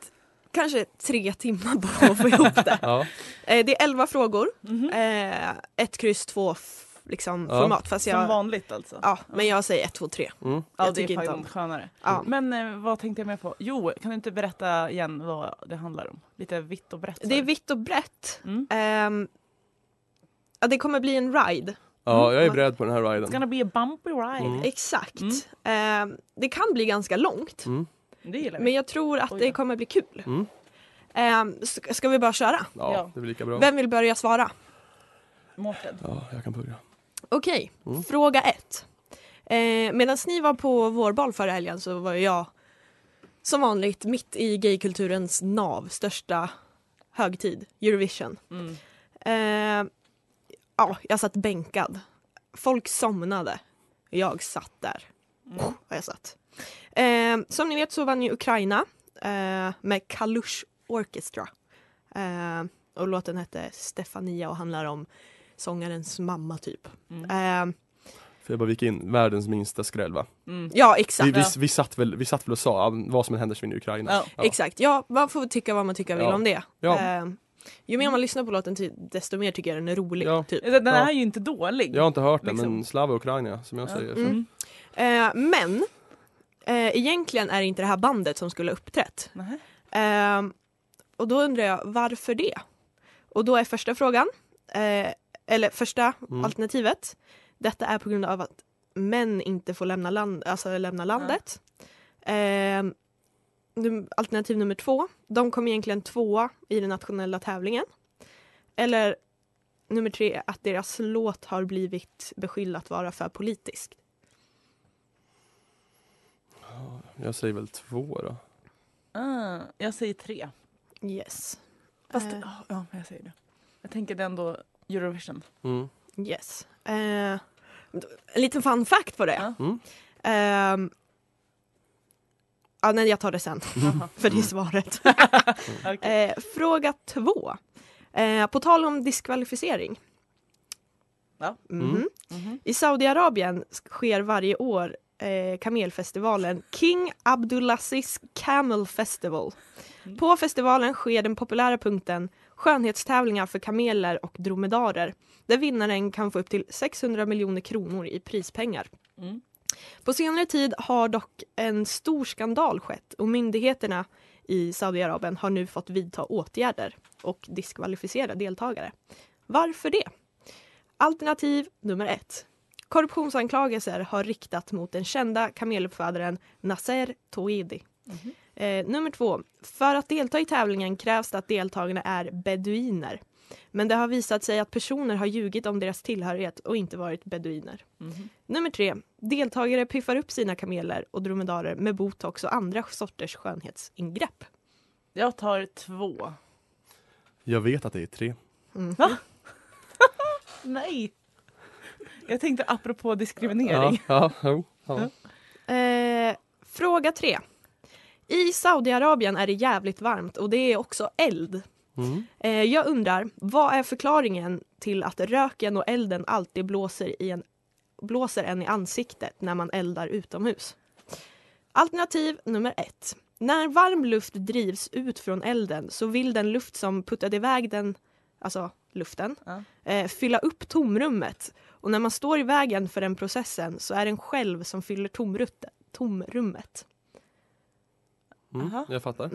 Speaker 3: kanske tre timmar på att få ihop (laughs) det.
Speaker 2: Ja,
Speaker 3: Eh, det är elva frågor. Eh, ett kryss, två f- liksom,
Speaker 2: Ja.
Speaker 3: format. Fast
Speaker 4: Som
Speaker 3: jag,
Speaker 4: vanligt alltså.
Speaker 3: ja, men jag säger ett, två, tre. Mm.
Speaker 2: mm.
Speaker 4: ja
Speaker 3: jag
Speaker 4: det är
Speaker 3: tycker
Speaker 4: fan
Speaker 3: inte
Speaker 4: något
Speaker 3: om-
Speaker 4: skönare.
Speaker 3: Ja.
Speaker 4: Men eh, vad tänkte jag mer på? Jo, kan du inte berätta igen vad det handlar om? Lite vitt och brett. så
Speaker 3: Det är
Speaker 4: här.
Speaker 3: vitt och brett.
Speaker 4: Mm.
Speaker 3: Ehm, ja, det kommer bli en ride.
Speaker 2: ja
Speaker 4: Mm.
Speaker 2: jag är beredd på den här
Speaker 4: It's
Speaker 2: riden.
Speaker 4: gonna be a bumpy ride.
Speaker 2: Mm.
Speaker 3: Exakt. Ehm, det kan bli ganska långt.
Speaker 2: Mm.
Speaker 4: Det gillar vi.
Speaker 3: Men jag tror att
Speaker 4: Oj
Speaker 3: det
Speaker 4: då.
Speaker 3: kommer bli kul.
Speaker 2: Mm.
Speaker 3: Ehm, s- ska vi bara köra?
Speaker 2: Ja,
Speaker 4: Ja.
Speaker 2: det blir lika bra.
Speaker 3: Vem vill börja svara?
Speaker 4: Mårten.
Speaker 2: Ja, jag kan börja.
Speaker 3: Okej, fråga ett. Eh, Medan ni var på vårbal förra helgen så var ju jag som vanligt mitt i gaykulturens nav, största högtid, Eurovision.
Speaker 4: Mm.
Speaker 3: Eh, ja, jag satt bänkad. Folk somnade. Jag satt där. Oh, vad jag satt. Eh, som ni vet så vann ju Ukraina eh, med Kalush Orchestra. Eh, och låten hette Stefania och handlar om sångarens mamma typ.
Speaker 4: mm,
Speaker 3: Eh,
Speaker 2: Får jag bara vika in, världens minsta skräll va?
Speaker 4: Mm.
Speaker 3: ja,
Speaker 2: Vi,
Speaker 3: exakt.
Speaker 2: vi, vi, satt väl, vi satt väl och sa, ja, vad som än händer så vinner Ukraina.
Speaker 4: Ja.
Speaker 3: Exakt. Ja, man får tycka vad man tycker vill
Speaker 2: Ja.
Speaker 3: om det.
Speaker 2: Ja.
Speaker 3: Eh, ju mer man lyssnar på låten ty- desto mer tycker jag den är rolig.
Speaker 2: Ja.
Speaker 3: Typ.
Speaker 4: Den
Speaker 2: Ja.
Speaker 4: är ju inte dålig.
Speaker 2: Jag har inte hört det,
Speaker 4: Liksom.
Speaker 2: men Slava Ukraina som jag
Speaker 4: Ja.
Speaker 2: säger.
Speaker 3: Mm. Eh, men eh, egentligen är det inte det här bandet som skulle ha uppträtt.
Speaker 4: Nej.
Speaker 3: Ehm, Eh, och då undrar jag varför det? Och då är första frågan. Eh, eller första
Speaker 2: Mm.
Speaker 3: alternativet. Detta är på grund av att män inte får lämna, land, alltså lämna landet. Ehm, num- alternativ nummer två, de kom egentligen tvåa i den nationella tävlingen. Eller nummer tre, att deras låt har blivit beskylld att vara för politisk.
Speaker 2: Jag säger väl två då.
Speaker 4: Ah, jag säger tre.
Speaker 3: Yes.
Speaker 4: Fast,
Speaker 3: Eh.
Speaker 4: ja, ja, jag säger det. Jag tänker den då Eurovision.
Speaker 2: Mm.
Speaker 3: Yes. Eh, en liten fun fact på det.
Speaker 2: Mm.
Speaker 3: Ehm, ja, nej, jag tar det sen, (laughs)
Speaker 4: Jaha.
Speaker 3: för det är svaret. (laughs)
Speaker 4: Okej.
Speaker 3: Eh, fråga två. Eh, på tal om diskvalificering.
Speaker 4: Ja.
Speaker 3: Mhm.
Speaker 2: Mm.
Speaker 4: Mhm.
Speaker 3: I Saudiarabien sk- sker varje år eh, kamelfestivalen King Abdulaziz Camel Festival. På festivalen sker den populära punkten skönhetstävlingar för kameler och dromedarer där vinnaren kan få upp till 600 miljoner kronor i prispengar.
Speaker 4: Mm.
Speaker 3: På senare tid har dock en stor skandal skett och myndigheterna i Saudiarabien har nu fått vidta åtgärder och diskvalificera deltagare. Varför det? Alternativ nummer ett. Korruptionsanklagelser har riktat mot den kända kameluppfödaren Nasser Toedi. Eh, nummer två. För att delta i tävlingen krävs det att deltagarna är beduiner. Men det har visat sig att personer har ljugit om deras tillhörighet och inte varit beduiner.
Speaker 4: Mhm.
Speaker 3: Nummer tre. Deltagare piffar upp sina kameler och dromedarer med botox och andra sorters skönhetsingrepp.
Speaker 4: Jag tar två.
Speaker 2: Jag vet att det är tre.
Speaker 4: Nej! Jag tänkte apropå diskriminering.
Speaker 2: Ja, ja, ja.
Speaker 3: Eh, fråga tre. I Saudiarabien är det jävligt varmt och det är också eld.
Speaker 2: Mm.
Speaker 3: Eh, jag undrar, vad är förklaringen till att röken och elden alltid blåser, i en, blåser en i ansiktet när man eldar utomhus? Alternativ nummer ett. När varm luft drivs ut från elden så vill den luft som puttade iväg den, alltså luften,
Speaker 4: Ja.
Speaker 3: eh, fylla upp tomrummet. Och när man står i vägen för den processen så är den själv som fyller tomrut- tomrummet.
Speaker 2: Mm.
Speaker 4: Aha. Mm.
Speaker 2: Jag fattar.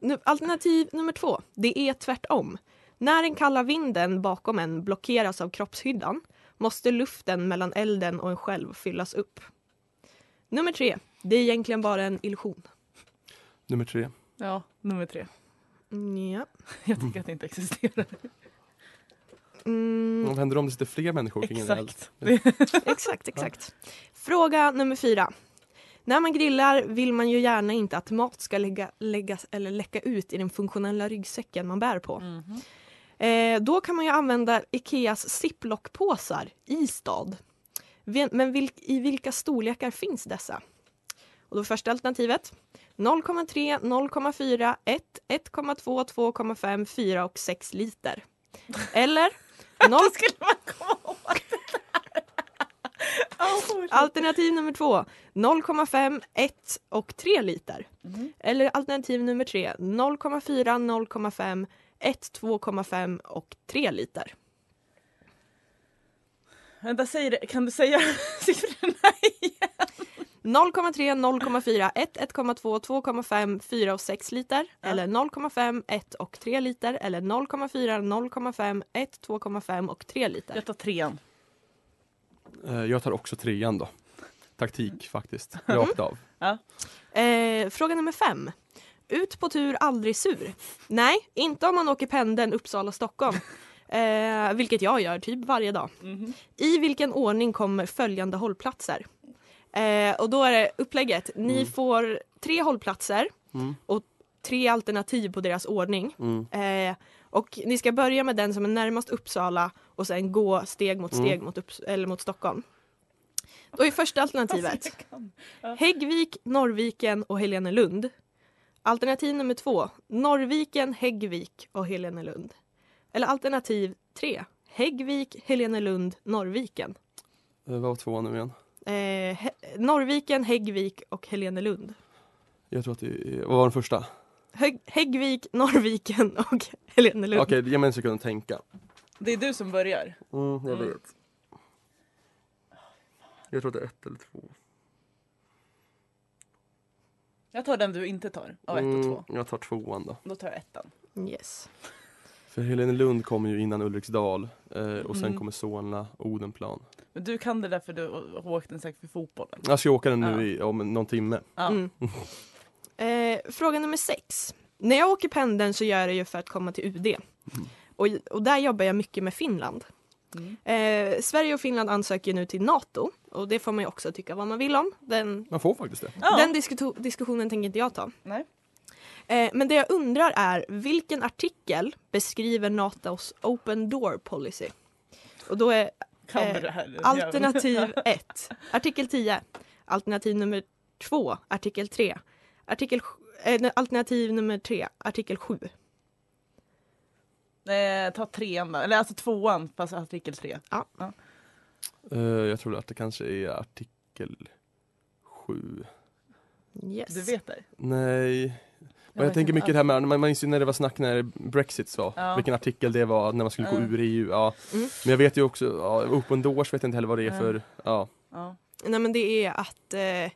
Speaker 3: Nu, alternativ nummer två, det är tvärtom. När den kalla vinden bakom en blockeras av kroppshyddan måste luften mellan elden och en själv fyllas upp. Nummer tre, det är egentligen bara en illusion.
Speaker 2: Nummer tre.
Speaker 4: Ja, nummer tre.
Speaker 3: Mm, Ja.
Speaker 4: Jag tänker att det inte existerar.
Speaker 3: Mm,
Speaker 2: Vad händer om det sitter fler människor kring en eld?
Speaker 4: Exakt. Det-
Speaker 3: exakt, exakt. Fråga nummer fyra. När man grillar vill man ju gärna inte att mat ska lägga, läggas eller läcka ut i den funktionella ryggsäcken man bär på.
Speaker 4: Mhm.
Speaker 3: Eh, då kan man ju använda Ikeas ziplockpåsar i stad. Vi- Men vilk, i vilka storlekar finns dessa? Och då första alternativet 0,3, 0,4, 1, 1,2, 2,5, 4 och 6 liter. Eller noll- alternativ nummer två 0,5, 1 och 3 liter.
Speaker 4: Mhm.
Speaker 3: Eller alternativ nummer tre 0,4, 0,5, 1, 2,5 och 3 liter.
Speaker 4: Vänta, säg det. kan du säga (laughs) siffrorna igen?
Speaker 3: 0,3, 0,4, 1, 1,2, 2,5, 4 och 6 liter. Eller 0,5, 1 och 3 liter. Eller 0,4, 0,5, 1, 2,5 och 3 liter.
Speaker 4: Jag tar trean.
Speaker 2: Eh, Jag tar också trean då.
Speaker 4: Mm.
Speaker 2: Taktik
Speaker 4: (laughs)
Speaker 2: faktiskt, rakt av.
Speaker 3: Eh, fråga nummer 5. Ut på tur, aldrig sur. Nej, inte om man åker pendeln Uppsala-Stockholm. Eh, vilket jag gör typ varje dag.
Speaker 4: Mhm.
Speaker 3: I vilken ordning kommer följande hållplatser? Eh, och då är det upplägget. Ni får tre hållplatser
Speaker 2: Mm.
Speaker 3: och tre alternativ på deras ordning.
Speaker 2: Mm.
Speaker 3: Eh, och ni ska börja med den som är närmast Uppsala och sen gå steg mot steg mot, Upps- eller mot Stockholm. Då är första
Speaker 4: (laughs)
Speaker 3: alternativet
Speaker 4: Jag kan.
Speaker 3: Häggvik, Norrviken och Helenelund. Alternativ nummer två Norrviken, Häggvik och Helenelund. Eller alternativ tre Häggvik, Helenelund, Norrviken.
Speaker 2: Eh, Vad var tvåan nu igen?
Speaker 3: Eh, Hä- Norrviken, Häggvik och Helenelund.
Speaker 2: Jag tror att det är... Vad var den första?
Speaker 3: Hägg- Häggvik, Norrviken (laughs) och Helenelund.
Speaker 2: Okej, ge mig en sekund att tänka.
Speaker 4: Det är du som börjar.
Speaker 2: Mm, jag
Speaker 4: Mm.
Speaker 2: vet. Jag tror att det är ett eller två.
Speaker 4: Jag tar den du inte tar, av ett och två.
Speaker 2: Mm, jag tar tvåan då.
Speaker 4: Då tar jag ettan.
Speaker 3: Yes.
Speaker 2: För Helene Lund kommer ju innan Ulriksdal eh, och sen
Speaker 4: Mm.
Speaker 2: kommer Solna, Odenplan.
Speaker 4: Men du kan det där för du har åkt den säkert för fotbollen.
Speaker 2: Jag ska åka den nu
Speaker 4: Ja.
Speaker 2: i, om någon timme.
Speaker 4: Ja.
Speaker 3: Mm. Eh, fråga nummer sex. När jag åker pendeln så gör jag det ju för att komma till UD. Och, och där jobbar jag mycket med Finland.
Speaker 4: Mm.
Speaker 3: Eh, Sverige och Finland ansöker ju nu till NATO och det får man ju också tycka vad man vill om. Den,
Speaker 2: Man får faktiskt det.
Speaker 4: Ja.
Speaker 3: den diskuto- diskussionen tänker inte jag ta.
Speaker 4: Nej.
Speaker 3: Eh, men det jag undrar är vilken artikel beskriver NATOs open door policy? Och då är
Speaker 4: Kan
Speaker 3: eh,
Speaker 4: du det här? (laughs)
Speaker 3: Alternativ 1, artikel 10. Alternativ nummer 2, artikel 3. Artikel, sj- eh, nej, alternativ nummer 3, artikel 7.
Speaker 4: Eh, ta trean då, eller alltså tvåan fast artikel tre.
Speaker 2: Eh, jag tror att det kanske är artikel 7.
Speaker 3: Yes.
Speaker 4: Du vet det?
Speaker 2: Nej, Men jag tänker mycket det här med, man minns ju när det var snack när Brexit var,
Speaker 4: Ja.
Speaker 2: vilken artikel det var när man skulle gå
Speaker 4: Ja.
Speaker 2: ur EU. Ja.
Speaker 3: Mm.
Speaker 2: Men jag vet ju också, ja, open doors vet jag inte heller vad det är
Speaker 4: Ja.
Speaker 2: för, ja.
Speaker 4: Ja.
Speaker 3: Nej men det är att eh,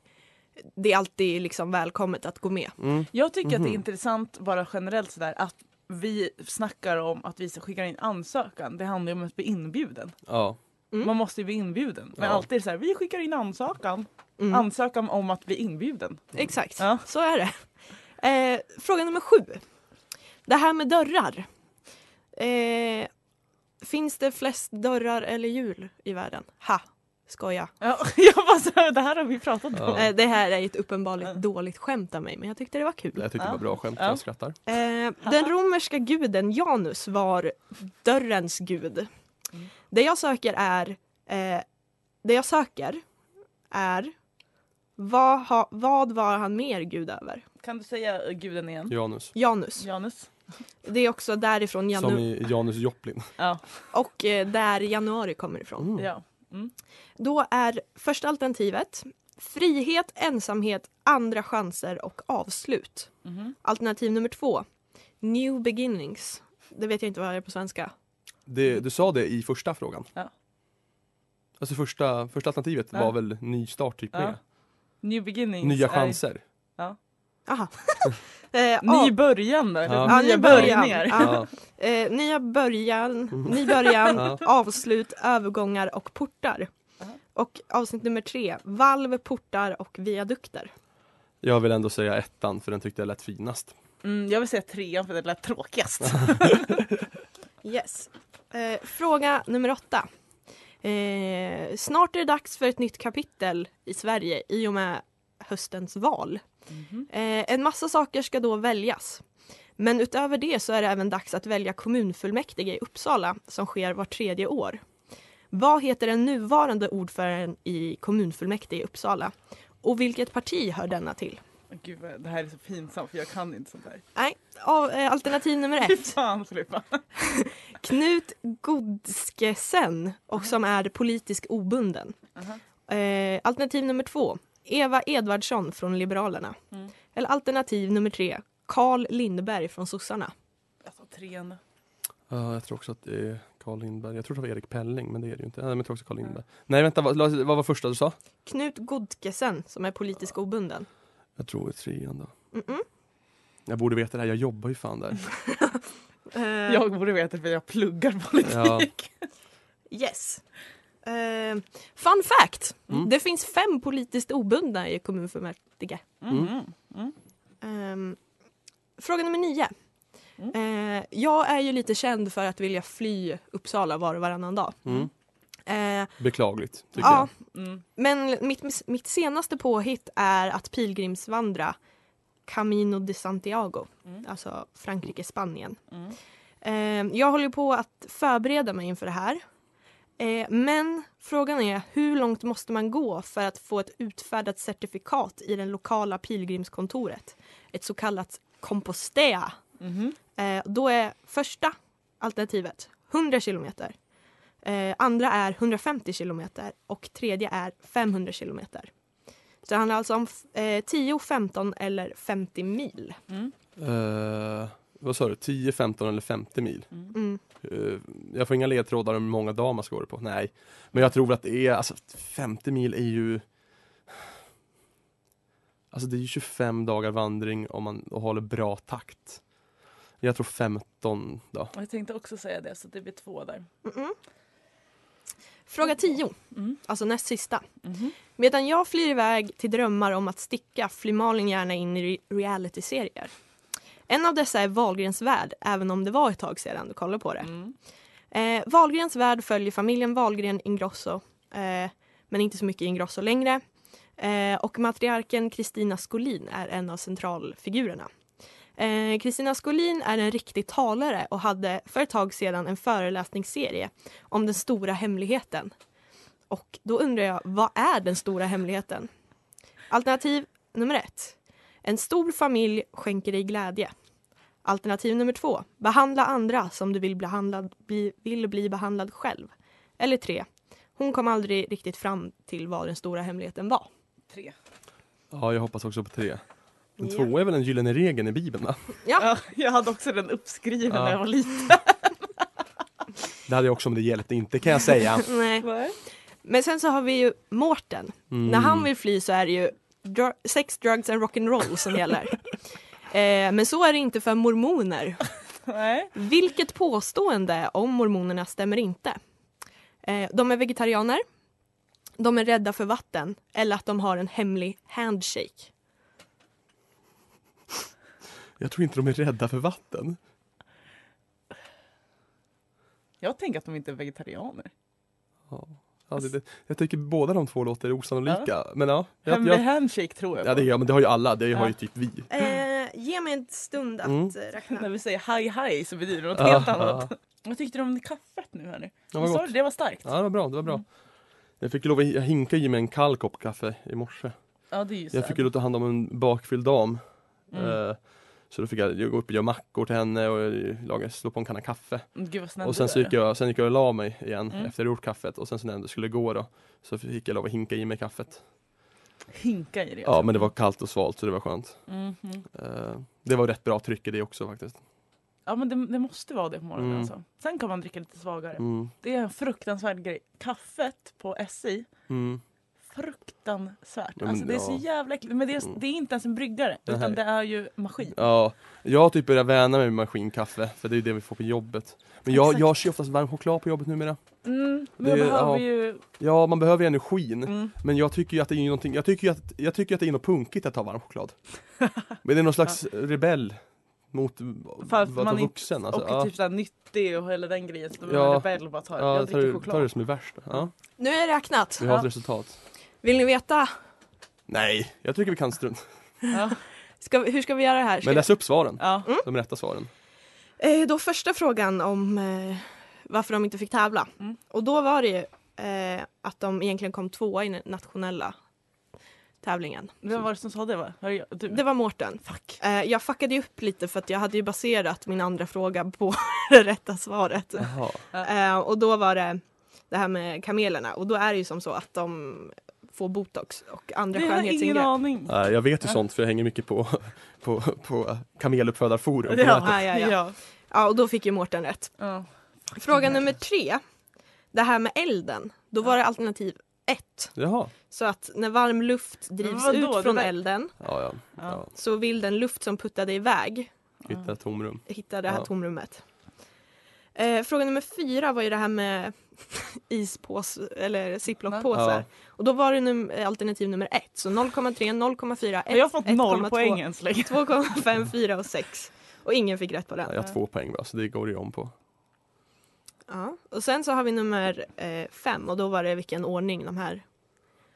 Speaker 3: det är alltid liksom välkommet att gå med.
Speaker 2: Mm.
Speaker 4: Jag tycker att det
Speaker 2: Mhm.
Speaker 4: är intressant bara generellt sådär att vi snackar om att vi skickar in ansökan. Det handlar ju om att bli inbjuden.
Speaker 2: ja.
Speaker 3: Mm.
Speaker 4: Man måste ju bli inbjuden. Men
Speaker 2: Ja.
Speaker 4: alltid är det så här, vi skickar in ansökan.
Speaker 3: Mm.
Speaker 4: Ansökan om att bli inbjuden.
Speaker 3: Exakt,
Speaker 4: Ja.
Speaker 3: så är det. Eh, fråga nummer 7. Det här med dörrar. Eh, finns det flest dörrar eller hjul i världen? Ha, skoja.
Speaker 4: Ja, (laughs) jag bara så här, det här har vi pratat om.
Speaker 2: Ja.
Speaker 3: Eh, det här är ett uppenbarligt
Speaker 4: Ja.
Speaker 3: dåligt skämt av mig men jag tyckte det var kul.
Speaker 2: Jag tyckte det var bra skämt,
Speaker 4: Ja.
Speaker 2: jag skrattar.
Speaker 3: Eh, den romerska guden Janus var dörrens gud.
Speaker 4: Mm.
Speaker 3: Det jag söker är eh, det jag söker är vad, ha, vad var han mer gud över?
Speaker 4: Kan du säga eh, guden igen?
Speaker 2: Janus.
Speaker 3: Janus.
Speaker 4: Janus?
Speaker 3: Det är också därifrån
Speaker 2: Som
Speaker 3: janu-
Speaker 2: i Janus Joplin.
Speaker 4: Ja.
Speaker 3: och eh, där januari kommer ifrån.
Speaker 2: Mm.
Speaker 4: ja.
Speaker 3: Då är första alternativet frihet, ensamhet, andra chanser och avslut.
Speaker 4: Mhm.
Speaker 3: Alternativ nummer två, new beginnings. Det vet jag inte vad det är på svenska.
Speaker 2: Det, du sa det i första frågan.
Speaker 4: Ja.
Speaker 2: Alltså första, första alternativet
Speaker 4: Ja.
Speaker 2: var väl ny start typ
Speaker 4: Ja.
Speaker 2: med.
Speaker 4: New beginnings.
Speaker 2: Nya
Speaker 4: är-
Speaker 2: chanser.
Speaker 3: Aha. (laughs) eh,
Speaker 4: Ny början då? eller
Speaker 2: Ja.
Speaker 3: Ja,
Speaker 4: Nya
Speaker 3: nya början.
Speaker 4: börjningar. Mm.
Speaker 3: Ja.
Speaker 2: Ja.
Speaker 3: Eh, nya början, ny början
Speaker 2: Ja.
Speaker 3: avslut, övergångar och portar.
Speaker 4: Aha.
Speaker 3: Och avsnitt nummer tre, valv, portar och viadukter.
Speaker 2: Jag vill ändå säga ettan för den tyckte jag lät finast.
Speaker 4: Mm, jag vill säga trean för det
Speaker 2: (laughs)
Speaker 4: lät tråkigast.
Speaker 3: Yes. Eh, fråga nummer åtta. Eh, snart är det dags för ett nytt kapitel i Sverige i och med höstens val.
Speaker 4: Mhm.
Speaker 3: Eh, en massa saker ska då väljas. Men utöver det så är det även dags att välja kommunfullmäktige i Uppsala som sker var tredje år. Vad heter den nuvarande ordföranden i kommunfullmäktige i Uppsala? Och vilket parti hör denna till?
Speaker 4: Gud, vad- det här är så pinsamt för jag kan inte sånt där.
Speaker 3: Nej, av, eh, alternativ nummer
Speaker 4: Fy
Speaker 3: ett.
Speaker 4: fan Filippa.
Speaker 3: Knut Godskesen och som är politisk obunden.
Speaker 4: Aha.
Speaker 3: Eh, alternativ nummer två, Eva Edvardsson från Liberalerna.
Speaker 4: Mm.
Speaker 3: Eller alternativ nummer tre, Carl Lindberg från sossarna.
Speaker 4: Jag tar Alltså, trean.
Speaker 2: Ja, jag tror också att det är Carl Lindberg. Jag tror det var Erik Pelling men det är det ju inte. Nej, men jag tror också Carl Lindberg. Nej vänta, vad, vad var första du sa?
Speaker 3: Knut Godkesen som är politisk obunden.
Speaker 2: Jag tror det är trean då.
Speaker 3: Mm-mm.
Speaker 2: Jag borde veta det här, jag jobbar ju fan
Speaker 4: (laughs)
Speaker 2: där.
Speaker 3: Eh,
Speaker 4: Jag borde veta för jag pluggar politik.
Speaker 3: Yes. Eh, fun fact!
Speaker 2: Mm.
Speaker 3: Det finns fem politiskt obundna i kommunfullmäktige.
Speaker 4: Mm.
Speaker 3: Ehm, fråga nummer nio.
Speaker 4: Mm.
Speaker 3: Eh, jag är ju lite känd för att vilja fly Uppsala var och varannan dag.
Speaker 2: Mm.
Speaker 3: Eh,
Speaker 2: Beklagligt, tycker
Speaker 3: ja,
Speaker 4: Mm.
Speaker 3: men mitt, mitt senaste påhitt är att pilgrimsvandra Camino de Santiago,
Speaker 4: Mm.
Speaker 3: alltså Frankrike-Spanien.
Speaker 4: Mm.
Speaker 3: Eh, jag håller ju på att förbereda mig inför det här. Eh, men frågan är hur långt måste man gå för att få ett utfärdat certifikat i det lokala pilgrimskontoret? Ett så kallat compostea.
Speaker 4: Mhm.
Speaker 3: Eh, då är första alternativet 100 kilometer. Eh, andra är 150 kilometer och tredje är 500 kilometer. Så det handlar alltså om f- eh, 10, 15 eller 50 mil.
Speaker 4: Mm.
Speaker 2: jag. Eh, vad sa du, 10, 15 eller 50 mil?
Speaker 3: Mm.
Speaker 2: Eh, jag får inga ledtrådar om hur många dagar man ska gå det på. Nej. Men jag tror att det är, alltså 50 mil är ju Alltså det är ju 25 dagar vandring om man håller bra takt. Jag tror 15 då.
Speaker 4: Och Jag tänkte också säga det, så det blir två där.
Speaker 3: Mm-mm. Fråga 10,
Speaker 4: Mm.
Speaker 3: alltså näst sista.
Speaker 4: Mhm.
Speaker 3: Medan jag flyr iväg till drömmar om att sticka flyr Malin gärna in i re- reality-serier. En av dessa är Wahlgrens värld, även om det var ett tag sedan du kollade på det.
Speaker 4: Mm.
Speaker 3: Eh, Wahlgrens värld följer familjen Wahlgren Ingrosso, eh, men inte så mycket Ingrosso längre. Eh, och matriarken Kristina Skolin är en av centralfigurerna. Eh, Kristina Skolin är en riktig talare och hade för ett tag sedan en föreläsningsserie om den stora hemligheten. Och då undrar jag, vad är den stora hemligheten? Alternativ nummer ett. En stor familj skänker dig glädje. Alternativ nummer två. Behandla andra som du vill, behandlad, bli, vill bli behandlad själv. Eller tre. Hon kom aldrig riktigt fram till vad den stora hemligheten var.
Speaker 4: Tre.
Speaker 2: Ja, jag hoppas också på tre. En
Speaker 3: Ja.
Speaker 2: tvåa är väl den gyllene regeln i Bibeln va?
Speaker 4: Ja, jag hade också den uppskriven
Speaker 2: Ja.
Speaker 4: när jag var liten.
Speaker 2: Det hade jag också om det hjälpte inte kan jag säga.
Speaker 3: Nej. Men sen så har vi ju Mårten.
Speaker 2: Mm.
Speaker 3: När han vill fly så är det ju dr- sex, drugs and rock'n'roll som gäller. eh, men så är det inte för mormoner.
Speaker 4: Nej.
Speaker 3: Vilket påstående om mormonerna stämmer inte? Eh, de är vegetarianer, de är rädda för vatten eller att de har en hemlig handshake.
Speaker 2: Mm. Jag tror inte de är rädda för vatten.
Speaker 4: Jag tänker att de inte är vegetarianer.
Speaker 2: Ja, Alltså, det, det, jag tycker båda de två låter osannolika. Men ja, jag,
Speaker 4: Hemlig
Speaker 2: jag,
Speaker 4: handshake tror jag på.
Speaker 2: ja, det, ja, men det har ju alla. Det har ju
Speaker 4: Ja.
Speaker 2: typ vi.
Speaker 3: Eh, ge mig en stund att
Speaker 2: Mm.
Speaker 3: eh, räkna.
Speaker 4: När vi säger haj haj så betyder det något
Speaker 2: Ja,
Speaker 4: helt
Speaker 2: ja.
Speaker 4: annat. Vad tyckte du om kaffet nu här nu?
Speaker 2: Ja,
Speaker 4: Vad
Speaker 2: vad
Speaker 4: sa
Speaker 2: gott.
Speaker 4: du? Det var starkt.
Speaker 2: Ja, det var bra. Det var bra.
Speaker 4: Mm.
Speaker 2: Jag fick ju lov att jag hinkade i mig en kall kopp kaffe i morse.
Speaker 4: Ja, det är ju
Speaker 2: Jag
Speaker 4: sad.
Speaker 2: fick ju lov att ta hand om en bakfylld dam.
Speaker 4: mm.
Speaker 2: Eh, Så då fick jag jag gå upp och göra mackor till henne och eh, laga, slå på en kanna kaffe.
Speaker 4: Gud vad snäll
Speaker 2: Och sen
Speaker 4: du
Speaker 2: så gick jag, sen gick jag och la mig igen
Speaker 4: Mm.
Speaker 2: efter jag gjort kaffet och sen så när jag ändå skulle gå då så fick jag lov att hinka i mig kaffet.
Speaker 4: Hinka i det.
Speaker 2: Ja men det var kallt och svalt så det var skönt.
Speaker 4: Mhm.
Speaker 2: Eh, Det var rätt bra tryck i det också faktiskt.
Speaker 4: Ja men det, det måste vara det på morgonen
Speaker 2: Mm.
Speaker 4: alltså. Sen kan man dricka lite svagare.
Speaker 2: Mm.
Speaker 4: Det är en fruktansvärd grej. Kaffet på SI,
Speaker 2: Mm.
Speaker 4: fruktansvärt.
Speaker 2: men
Speaker 4: alltså, det är
Speaker 2: ja.
Speaker 4: så jävla äckligt. Men det är,
Speaker 2: Mm.
Speaker 4: det är inte ens en bryggare
Speaker 2: Nej.
Speaker 4: utan det är ju maskin.
Speaker 2: Ja, jag har typ börjat vänja mig med maskinkaffe för det är ju det vi får på jobbet. Men jag,
Speaker 4: Exakt.
Speaker 2: jag kör oftast varm choklad på jobbet numera.
Speaker 4: Mm, men
Speaker 2: Det
Speaker 4: man
Speaker 2: är-
Speaker 4: behöver
Speaker 2: ja.
Speaker 4: ju...
Speaker 2: Ja man behöver ju energin.
Speaker 4: Mm.
Speaker 2: Men jag tycker ju att det är någonting, jag tycker ju att, jag tycker att det är något punkigt att ta varm choklad. Men det är någon
Speaker 4: (laughs)
Speaker 2: slags rebell mot att
Speaker 4: Fast man
Speaker 2: vara
Speaker 4: är-
Speaker 2: vuxen. Alltså.
Speaker 4: och
Speaker 2: ja.
Speaker 4: typ såhär nyttig och hela den grejen. Så då
Speaker 2: Ja.
Speaker 4: behöver man rebell och bara ta det.
Speaker 2: Ja,
Speaker 4: jag
Speaker 2: ta
Speaker 4: dricker
Speaker 2: det, ta
Speaker 4: choklad.
Speaker 2: det som är värst. Ja,
Speaker 3: Nu är jag räknat.
Speaker 2: vi har ett
Speaker 4: Ja.
Speaker 2: resultat.
Speaker 3: Vill ni veta?
Speaker 2: Nej, jag tycker vi kan
Speaker 4: (laughs)
Speaker 2: strunt.
Speaker 4: Ja.
Speaker 3: Ska, vi- hur ska vi göra det här? Ska
Speaker 2: Men läs upp svaren,
Speaker 4: Ja.
Speaker 2: de rätta
Speaker 4: (laughs)
Speaker 2: svaren.
Speaker 3: Eh, då första frågan om eh, varför de inte fick tävla.
Speaker 4: Mm.
Speaker 3: Och då var det ju eh, att de egentligen kom tvåa i den nationella tävlingen.
Speaker 4: Vem var det som sa det? Va? Var det jag? Du?
Speaker 3: Det var Mårten. Fuck. Eh, jag fuckade ju upp lite för att jag hade ju baserat min andra fråga på (laughs) det rätta svaret.
Speaker 2: Jaha.
Speaker 3: Eh, och då var det det här med kamelerna och då är det ju som så att de får botox och andra
Speaker 4: Det har jag ingen
Speaker 3: skönhetsingrepp.
Speaker 4: aning.
Speaker 2: Nej, jag vet ju sånt för jag hänger mycket på, på, på kameluppfödarforum.
Speaker 4: Det har
Speaker 2: Ja.
Speaker 4: man.
Speaker 3: Ja, ja, ja.
Speaker 4: Ja.
Speaker 3: Ja, och då fick ju Mårten rätt.
Speaker 4: Ja.
Speaker 3: Fråga nummer tre. Det här med elden. Då var det alternativ ett.
Speaker 2: Jaha.
Speaker 3: Så att när varm luft drivs
Speaker 4: Men vadå,
Speaker 3: ut från
Speaker 4: det där-
Speaker 3: elden
Speaker 2: Ja, ja.
Speaker 4: Ja.
Speaker 2: ja.
Speaker 3: så vill den luft som puttade iväg
Speaker 2: Hitta ett tomrum.
Speaker 3: hitta det här
Speaker 2: Ja.
Speaker 3: tomrummet. Eh, fråga nummer fyra var ju det här med (laughs) ispåse eller ziplockpåsar.
Speaker 2: Ja.
Speaker 3: Och då var det num- eh, alternativ nummer ett. Så 0,3, 0,4, 1,
Speaker 4: Jag har fått noll poäng än så länge.
Speaker 3: 2,5, 4 och 6. Och ingen fick rätt på
Speaker 2: Ja,
Speaker 3: den.
Speaker 2: jag har två poäng bara, så det går ju om på.
Speaker 3: Ja. Och sen så har vi nummer eh, fem och då var det vilken ordning de här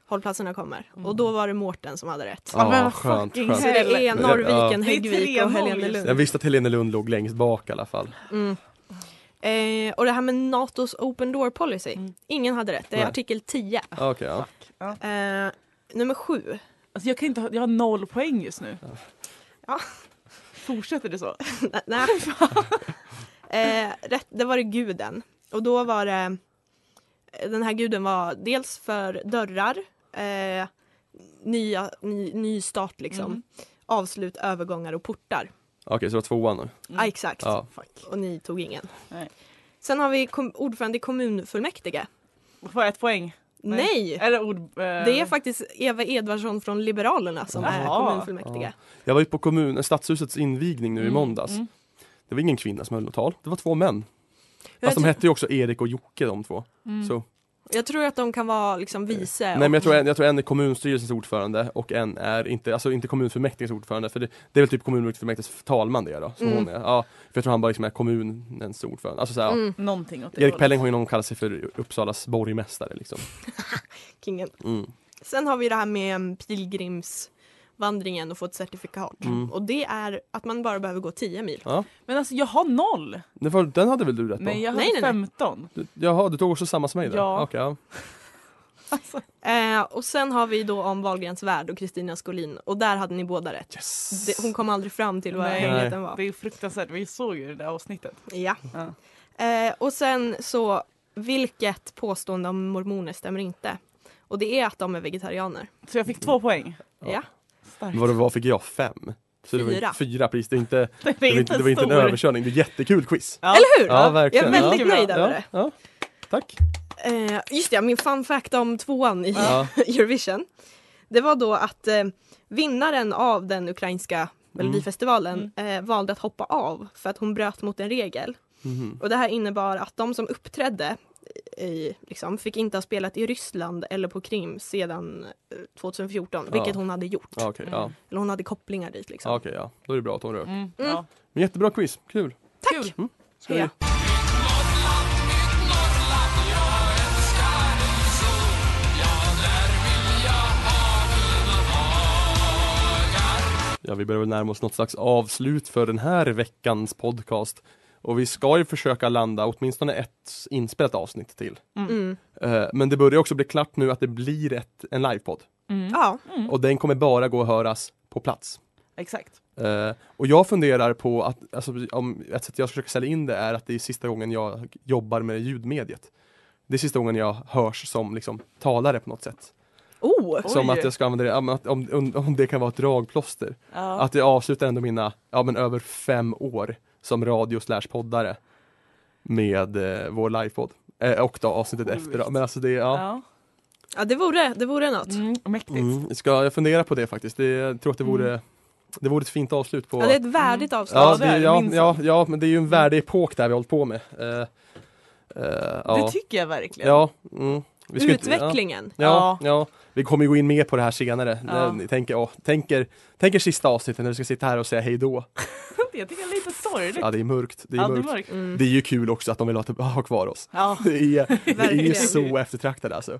Speaker 3: hållplatserna kommer.
Speaker 4: Mm.
Speaker 3: Och då var det Mårten som hade rätt.
Speaker 4: Ja, men
Speaker 2: Ja,
Speaker 4: vad
Speaker 2: skönt,
Speaker 4: fucking
Speaker 2: skönt.
Speaker 3: Så det är
Speaker 4: Helvete.
Speaker 3: Norrviken,
Speaker 4: Ja. Det
Speaker 3: Häggvik
Speaker 4: är
Speaker 3: och
Speaker 4: 3-0 just
Speaker 3: Helenelund.
Speaker 2: Jag visste att Helene Lund låg längst bak i alla fall.
Speaker 3: Mm. Eh, och det här med Natos open door policy.
Speaker 4: Mm.
Speaker 3: Ingen hade rätt. Det är
Speaker 2: Nej.
Speaker 3: artikel 10.
Speaker 2: Okej, ja.
Speaker 3: Eh, nummer sju. (laughs)
Speaker 4: Alltså jag, kan inte ha, jag har noll poäng just nu.
Speaker 3: Ja.
Speaker 4: Fortsätter det så?
Speaker 3: Nä- Nej.
Speaker 4: (laughs)
Speaker 3: eh, rätt, det var det guden. Och då var det... eh, Den här guden var dels för dörrar, eh, nya, ny, ny start liksom.
Speaker 4: Mm.
Speaker 3: Avslut, övergångar och portar.
Speaker 2: Okej, så det var tvåan nu.
Speaker 4: Mm.
Speaker 3: Ah, exakt.
Speaker 2: Ja.
Speaker 3: Och ni tog ingen.
Speaker 4: Nej.
Speaker 3: Sen har vi kom, ordförande i kommunfullmäktige.
Speaker 4: Får jag ett poäng? Nej.
Speaker 3: Nej!
Speaker 4: Eller ord... Eh,
Speaker 3: Det är faktiskt Eva Edvardsson från Liberalerna som är
Speaker 4: Jaha.
Speaker 3: kommunfullmäktige. Mm,
Speaker 4: Mm,
Speaker 2: Jag var ju på kommun, stadshusets invigning nu i måndags. Det var ingen kvinna som höll något tal, det var två män.
Speaker 3: Jag,
Speaker 2: Fast de
Speaker 3: tror,
Speaker 2: hette ju också Erik och Jocke de två.
Speaker 5: Mm.
Speaker 2: Så.
Speaker 3: jag tror att de kan vara liksom vice.
Speaker 2: Nej men jag tror, en, jag tror en är kommunstyrelsens ordförande och en är inte, alltså inte kommunfullmäktiges ordförande för det, det är väl typ kommunfullmäktiges talman det är då. Som
Speaker 3: Mm.
Speaker 2: hon är. Ja, för jag tror han bara liksom är kommunens ordförande. Alltså, så här, ja.
Speaker 3: Mm,
Speaker 4: Någonting åt det
Speaker 2: Erik
Speaker 4: hållet.
Speaker 2: Pelling har ju någon kallat sig för Uppsalas borgmästare liksom.
Speaker 3: kingen.
Speaker 2: Mm.
Speaker 3: Sen har vi det här med mm, pilgrimsvandringen och få ett certifikat.
Speaker 2: Mm.
Speaker 3: Och det är att man bara behöver gå 10 mil.
Speaker 4: Men alltså jag har noll!
Speaker 2: Det var, den hade väl du rätt på?
Speaker 4: Nej jag har
Speaker 3: Nej, nej, nej.
Speaker 4: 15.
Speaker 2: Du- Jaha, du tog också samma som mig där?
Speaker 4: Ja.
Speaker 2: Okej, ja.
Speaker 4: (laughs) Alltså,
Speaker 3: Eh, och sen har vi då om Wahlgrens värld och Kristina Skolin och där hade ni båda rätt.
Speaker 2: Yes!
Speaker 3: Det, hon kom aldrig fram till vad
Speaker 4: Nej.
Speaker 3: enigheten var.
Speaker 4: det är fruktansvärt, vi såg ju det där avsnittet.
Speaker 3: Ja.
Speaker 4: Ja.
Speaker 3: Eh, och sen så, vilket påstående om mormoner stämmer inte? Och det är att de är vegetarianer.
Speaker 4: Så jag fick
Speaker 2: Mm.
Speaker 4: två poäng.
Speaker 3: Ja.
Speaker 4: Starkt.
Speaker 2: Men Vadå, vad fick jag? Fem? Så det var ju
Speaker 3: Fyra.
Speaker 2: fyra pris, det, är inte,
Speaker 4: (laughs) Det
Speaker 2: det, var inte, det var inte en
Speaker 4: stor.
Speaker 2: överkörning, det är jättekul quiz!
Speaker 4: Ja.
Speaker 3: Eller hur?
Speaker 2: Ja, verkligen.
Speaker 3: Jag är väldigt
Speaker 4: Ja.
Speaker 3: nöjd över
Speaker 2: Ja,
Speaker 3: det.
Speaker 2: ja. Tack!
Speaker 3: Eh, just det, min fun fact om tvåan i (laughs)
Speaker 2: Ja.
Speaker 3: Eurovision. Det var då att eh, vinnaren av den ukrainska
Speaker 2: Mm.
Speaker 3: Melodifestivalen eh, valde att hoppa av för att hon bröt mot en regel.
Speaker 2: Mhm.
Speaker 3: Och det här innebar att de som uppträdde i, liksom, fick inte ha spelat i Ryssland eller på Krim sedan eh, 2014,
Speaker 2: Ja.
Speaker 3: vilket hon hade gjort.
Speaker 2: Ja, okej, ja.
Speaker 3: Eller hon hade kopplingar dit liksom.
Speaker 2: Ja, okej, ja. Då är det bra att hon rök.
Speaker 4: Mm.
Speaker 3: Mm.
Speaker 4: Ja.
Speaker 2: Men jättebra quiz, kul!
Speaker 3: Tack!
Speaker 2: Mm. Ska vi-
Speaker 3: Ja.
Speaker 2: Ja, vi börjar väl närma oss något slags avslut för den här veckans podcast. Och vi ska ju försöka landa åtminstone ett inspelat avsnitt till.
Speaker 3: Mm.
Speaker 2: Eh, Men det börjar också bli klart nu att det blir ett, en livepodd.
Speaker 4: Mm.
Speaker 3: Ja.
Speaker 2: Och den kommer bara gå att höras på plats.
Speaker 4: Exakt.
Speaker 2: Eh, och jag funderar på att, alltså, om ett sätt jag försöker sälja in det är att det är sista gången jag jobbar med ljudmediet. Det är sista gången jag hörs som liksom, talare på något sätt.
Speaker 3: Oh!
Speaker 2: Som
Speaker 4: Oj.
Speaker 2: att jag ska använda det, ja, men att- om, om, om det kan vara ett dragplåster.
Speaker 4: Ja.
Speaker 2: Att jag avslutar ändå mina, ja men över fem år som radio slash poddare med eh, vår livepodd. Eh, och då avsnittet
Speaker 4: Sjukt.
Speaker 2: efter. Men alltså det, ja.
Speaker 4: Ja.
Speaker 3: Ja, det vore, det vore något.
Speaker 4: Mm. Mäktigt.
Speaker 2: Mm, ska jag fundera på det faktiskt. Det, jag tror att det vore, det vore ett fint avslut på
Speaker 3: Ja, det är ett värdigt avslut.
Speaker 2: Ja,
Speaker 4: Ja,
Speaker 2: det,
Speaker 4: det är det
Speaker 2: ja,
Speaker 4: minsann.
Speaker 2: ja, ja, men det är ju en värdig epok där vi har hållit på med. Eh, eh, ja.
Speaker 4: Det tycker jag verkligen.
Speaker 2: ja, mm. Vi ska inte-
Speaker 3: Utvecklingen.
Speaker 2: Ja, ja, ja, vi kommer ju gå in mer på det här senare.
Speaker 4: Ja.
Speaker 2: När ni Tänker, åh, tänker, tänker sista avsnittet när vi ska sitta här och säga hej då.
Speaker 4: Jag tycker det är lite sorgligt.
Speaker 2: Ja, det är mörkt. Det är,
Speaker 4: Ja, det är
Speaker 2: mörkt.
Speaker 4: mörkt.
Speaker 3: Mm.
Speaker 2: det är ju kul också att de vill ha, typ, ha kvar oss.
Speaker 4: Ja. (laughs)
Speaker 2: Det är, det är ju
Speaker 3: Verkligen.
Speaker 2: så eftertraktat alltså.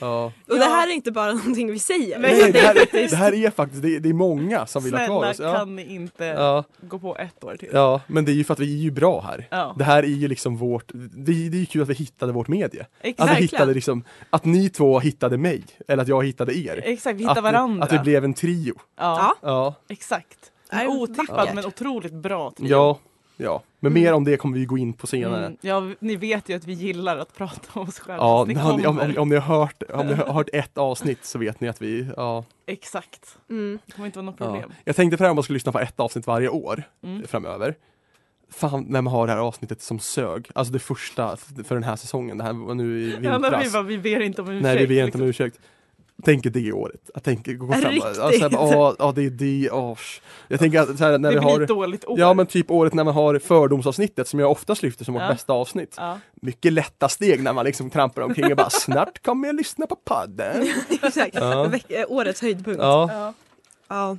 Speaker 2: Ja.
Speaker 3: Och det här är inte bara (laughs) någonting vi säger.
Speaker 2: Nej, det, här, det här är faktiskt, det är, det är många som vill ha kvar
Speaker 4: Snälla
Speaker 2: oss. Ja.
Speaker 4: kan ni inte
Speaker 2: Ja,
Speaker 4: gå på ett år till?
Speaker 2: ja, men det är ju för att vi är ju bra här.
Speaker 4: Ja.
Speaker 2: Det här är ju liksom vårt, det är, det är ju kul att vi hittade vårt medie. Att, vi
Speaker 4: Exakt.
Speaker 3: Verkligen.
Speaker 2: hittade liksom, att ni två hittade mig, eller att jag hittade er.
Speaker 4: Exakt, vi
Speaker 2: att,
Speaker 4: hittar
Speaker 2: vi-
Speaker 4: varandra.
Speaker 2: Att vi blev en trio.
Speaker 4: ja.
Speaker 3: Ja.
Speaker 2: Ja,
Speaker 4: Exakt.
Speaker 3: Nej,
Speaker 4: Otippad
Speaker 3: vackert.
Speaker 4: men otroligt bra trio.
Speaker 2: ja, ja. Men mer om det kommer vi gå in på senare.
Speaker 4: Mm. ja, vi- ni vet ju att vi gillar att prata om oss själva.
Speaker 2: Ja,
Speaker 4: så det
Speaker 2: om, om,
Speaker 4: kommer.
Speaker 2: om, om ni har hört, om ni har hört ett avsnitt så vet ni att vi, ja.
Speaker 4: Exakt.
Speaker 3: Mm.
Speaker 4: Det kommer inte vara något
Speaker 2: ja.
Speaker 4: problem.
Speaker 2: Jag tänkte på det här om man skulle lyssna på ett avsnitt varje år
Speaker 4: Mm.
Speaker 2: framöver. Fan, när man har det här avsnittet som sög, alltså det första för den här säsongen, det här var nu i
Speaker 4: Ja, men vi,
Speaker 2: vintras.
Speaker 4: bara, vi ber inte
Speaker 3: Mm.
Speaker 4: om ursäkt.
Speaker 2: Nej, vi ber inte
Speaker 4: liksom.
Speaker 2: om ursäkt. Tänk det året. Jag tänker gå fram och-
Speaker 3: Riktigt.
Speaker 2: ja, så här bara,
Speaker 3: (laughs)
Speaker 2: ja, ja, det är det, åh. sh. Jag tänker att så här, när
Speaker 4: Det
Speaker 2: vi
Speaker 4: blir ett
Speaker 2: har
Speaker 4: dåligt år.
Speaker 2: Ja men typ året när man har fördomsavsnittet som jag oftast lyfter som vårt
Speaker 4: Ja.
Speaker 2: bästa avsnitt.
Speaker 4: Ja.
Speaker 2: Mycket lätta steg när man liksom trampar omkring och bara snart kommer jag lyssna på podden.
Speaker 3: Exakt.
Speaker 2: Ja.
Speaker 3: Veck- eh, Årets höjdpunkt. (laughs) Ja.
Speaker 2: Ja,
Speaker 4: Ja.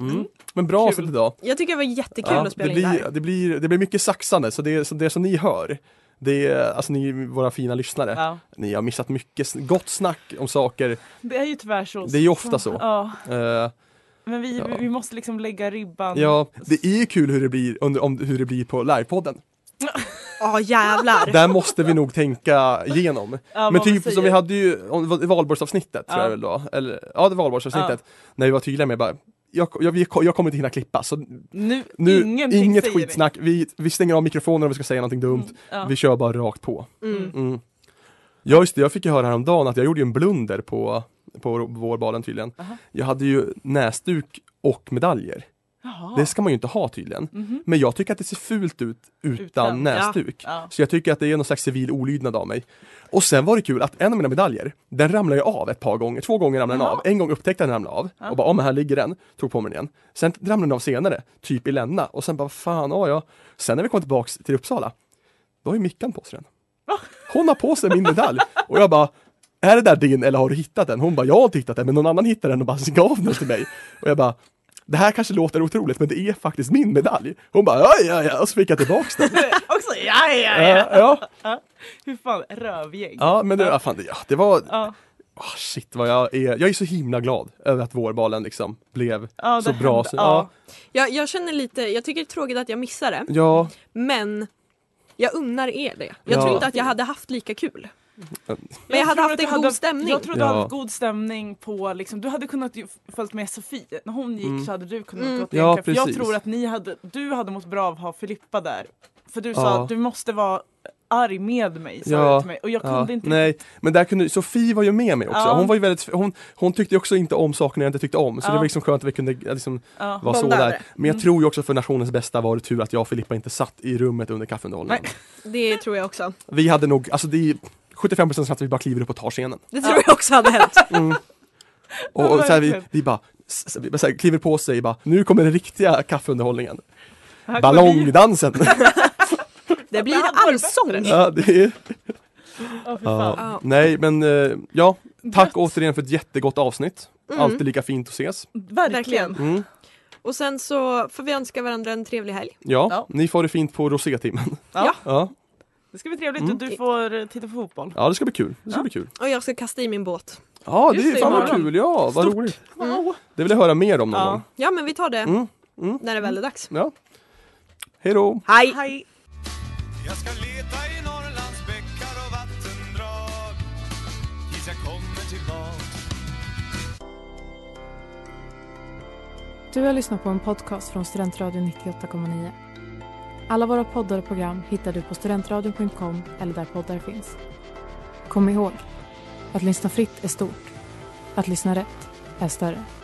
Speaker 2: mm. men bra avsnitt idag.
Speaker 3: Jag tycker det var jättekul
Speaker 2: Ja,
Speaker 3: att
Speaker 2: det,
Speaker 3: spela in det
Speaker 2: blir,
Speaker 3: här.
Speaker 2: det, blir, det blir mycket saxande så det, så det som ni hör, det är, alltså ni, våra fina lyssnare,
Speaker 4: Ja.
Speaker 2: ni har missat mycket s- gott snack om saker.
Speaker 4: Det är ju tyvärr så.
Speaker 2: Det är ju ofta så.
Speaker 4: Ja,
Speaker 2: Eh,
Speaker 4: men vi,
Speaker 2: Ja.
Speaker 4: vi måste liksom lägga ribban.
Speaker 2: Ja, det är ju kul hur det blir, under, om, hur det blir på livepodden.
Speaker 3: Ja
Speaker 2: (laughs)
Speaker 3: jävlar.
Speaker 2: Där måste vi nog tänka igenom.
Speaker 4: Ja,
Speaker 2: Men
Speaker 4: vad man
Speaker 2: typ som
Speaker 4: säger.
Speaker 2: vi hade ju om det var- i valborgsavsnittet tror
Speaker 4: Ja.
Speaker 2: jag väl då, eller ja det var valborgsavsnittet, när vi var tydliga med bara jag, jag, vi- jag kommer inte hinna klippa så
Speaker 4: Nu,
Speaker 2: nu,
Speaker 4: ingenting
Speaker 2: inget
Speaker 4: säger vi. Mm,
Speaker 2: skitsnack, vi, vi stänger av mikrofonen om vi ska säga någonting dumt,
Speaker 4: Ja.
Speaker 2: vi kör bara rakt på.
Speaker 3: Mm.
Speaker 2: Mm. Ja just det, jag fick ju höra häromdagen att jag gjorde ju en blunder på, på vårbalen tydligen.
Speaker 4: Aha.
Speaker 2: Jag hade ju näsduk och medaljer.
Speaker 4: Jaha.
Speaker 2: Det Mm. ska man ju inte ha tydligen.
Speaker 4: Mhm.
Speaker 2: Men jag tycker att det ser fult ut utan,
Speaker 4: Utan, ja.
Speaker 2: näsduk.
Speaker 4: Ja.
Speaker 2: Så jag tycker att det är någon slags civil olydnad av mig. Och sen var det kul att en av mina medaljer, den ramlade jag av ett par gånger. Två gånger ramlade den av. En gång upptäckte jag den ramlade av och bara, ja men här ligger den. Tog på mig den igen. Sen ramlade den av senare, typ i Länna. Och sen bara, fan, ja ja. Sen när vi kom tillbaks till Uppsala, då har ju Mickan på sig den. Hon har på sig min medalj. Och jag bara, är det där din eller har du hittat den? Hon bara, jag har inte hittat den men någon annan hittade den och bara gav den till mig. Och jag bara, det här kanske låter otroligt men det är faktiskt min medalj. Hon bara, ja ja ja, och så fick jag tillbaks den.
Speaker 4: Också, ja, ja, ja.
Speaker 2: (laughs) Ja, ja,
Speaker 4: Hur fan, rövgäng.
Speaker 2: ja, men det, ja, fan, det, ja, det var,
Speaker 4: Ja.
Speaker 2: ah, shit vad jag är, jag är så himla glad över att vårbalen liksom blev
Speaker 4: Ja, det
Speaker 2: så bra.
Speaker 4: hände.
Speaker 2: Så, ja.
Speaker 4: Ja.
Speaker 3: Jag, jag känner lite, jag tycker det är tråkigt att jag missar det.
Speaker 2: Ja,
Speaker 3: Men jag unnar er det. Jag
Speaker 2: Ja.
Speaker 3: tror inte att jag hade haft lika kul. Men jag hade
Speaker 4: tror
Speaker 3: haft
Speaker 4: att
Speaker 3: en
Speaker 4: du
Speaker 3: god stämning.
Speaker 4: Jag tror du hade
Speaker 2: Ja.
Speaker 4: haft god stämning på, liksom, du hade kunnat ju följt med Sofie. När hon gick så hade du
Speaker 3: Mm.
Speaker 4: kunnat gå till
Speaker 2: Mm. Ja,
Speaker 4: För jag
Speaker 2: precis.
Speaker 4: tror att ni hade, du hade mått bra av att ha Filippa där. För du
Speaker 2: Ja.
Speaker 4: sa att du måste vara arg med mig, sa
Speaker 2: Ja.
Speaker 4: du till mig. Och jag kunde
Speaker 2: ja,
Speaker 4: inte
Speaker 2: nej, men där kunde, Sofie var ju med mig också.
Speaker 4: Ja.
Speaker 2: Hon var ju väldigt, hon, hon tyckte ju också inte om saker jag inte tyckte om. Så
Speaker 4: Ja. Mm.
Speaker 2: det var liksom skönt att vi kunde eh, liksom,
Speaker 4: Ja.
Speaker 2: var så
Speaker 3: Bonda över
Speaker 2: där.
Speaker 3: det.
Speaker 2: Men jag tror ju också för nationens bästa var det tur att jag och Filippa inte satt i rummet under kaffeunderhållningen.
Speaker 3: Det tror jag också.
Speaker 2: Vi hade nog, alltså det är 75% chans att vi bara kliver upp och tar scenen.
Speaker 3: Det tror jag också hade hänt.
Speaker 2: Och, och så här, vi,
Speaker 4: verkligen.
Speaker 2: vi bara s- s- vi så här, kliver på sig bara, nu kommer den riktiga kaffeunderhållningen.
Speaker 4: Här kommer vi.
Speaker 2: Ballongdansen!
Speaker 3: Det blir
Speaker 4: Det hade varit
Speaker 3: allsång.
Speaker 2: (laughs) ja, det är,
Speaker 4: Ja, fy fan.
Speaker 2: ja. Nej men eh, ja, tack återigen för ett jättegott avsnitt.
Speaker 4: Mm.
Speaker 2: Alltid lika fint att ses.
Speaker 4: Verkligen.
Speaker 2: Mm.
Speaker 3: Och sen så får vi önska varandra en trevlig helg.
Speaker 2: Ja,
Speaker 4: Ja.
Speaker 2: ni får det fint på rosétimmen. (laughs)
Speaker 4: Ja.
Speaker 2: Ja.
Speaker 4: Det ska bli trevligt
Speaker 2: Mm.
Speaker 4: och du får eh, titta på fotboll.
Speaker 2: ja, det ska bli kul. Det ska bli kul.
Speaker 3: Och jag ska kasta i min båt.
Speaker 2: Ja,
Speaker 4: Just
Speaker 2: det är
Speaker 4: det,
Speaker 2: fan vad
Speaker 4: imorgon.
Speaker 2: kul. Ja, vad roligt.
Speaker 4: Wow.
Speaker 2: Det vill jag höra mer om någon gång.
Speaker 4: Ja.
Speaker 3: Ja men vi tar det
Speaker 2: Mm, mm.
Speaker 3: när det väl är dags.
Speaker 2: Ja. Hej då!
Speaker 3: Hej!
Speaker 4: Hej.
Speaker 5: Jag ska leta i Norrlands bäckar och vattendrag tills jag kommer tillbaka.
Speaker 6: Du har lyssnat på en podcast från Studentradion 98,9. Alla våra poddar och program hittar du på studentradion.com eller där poddar finns. Kom ihåg, att lyssna fritt är stort. Att lyssna rätt är större.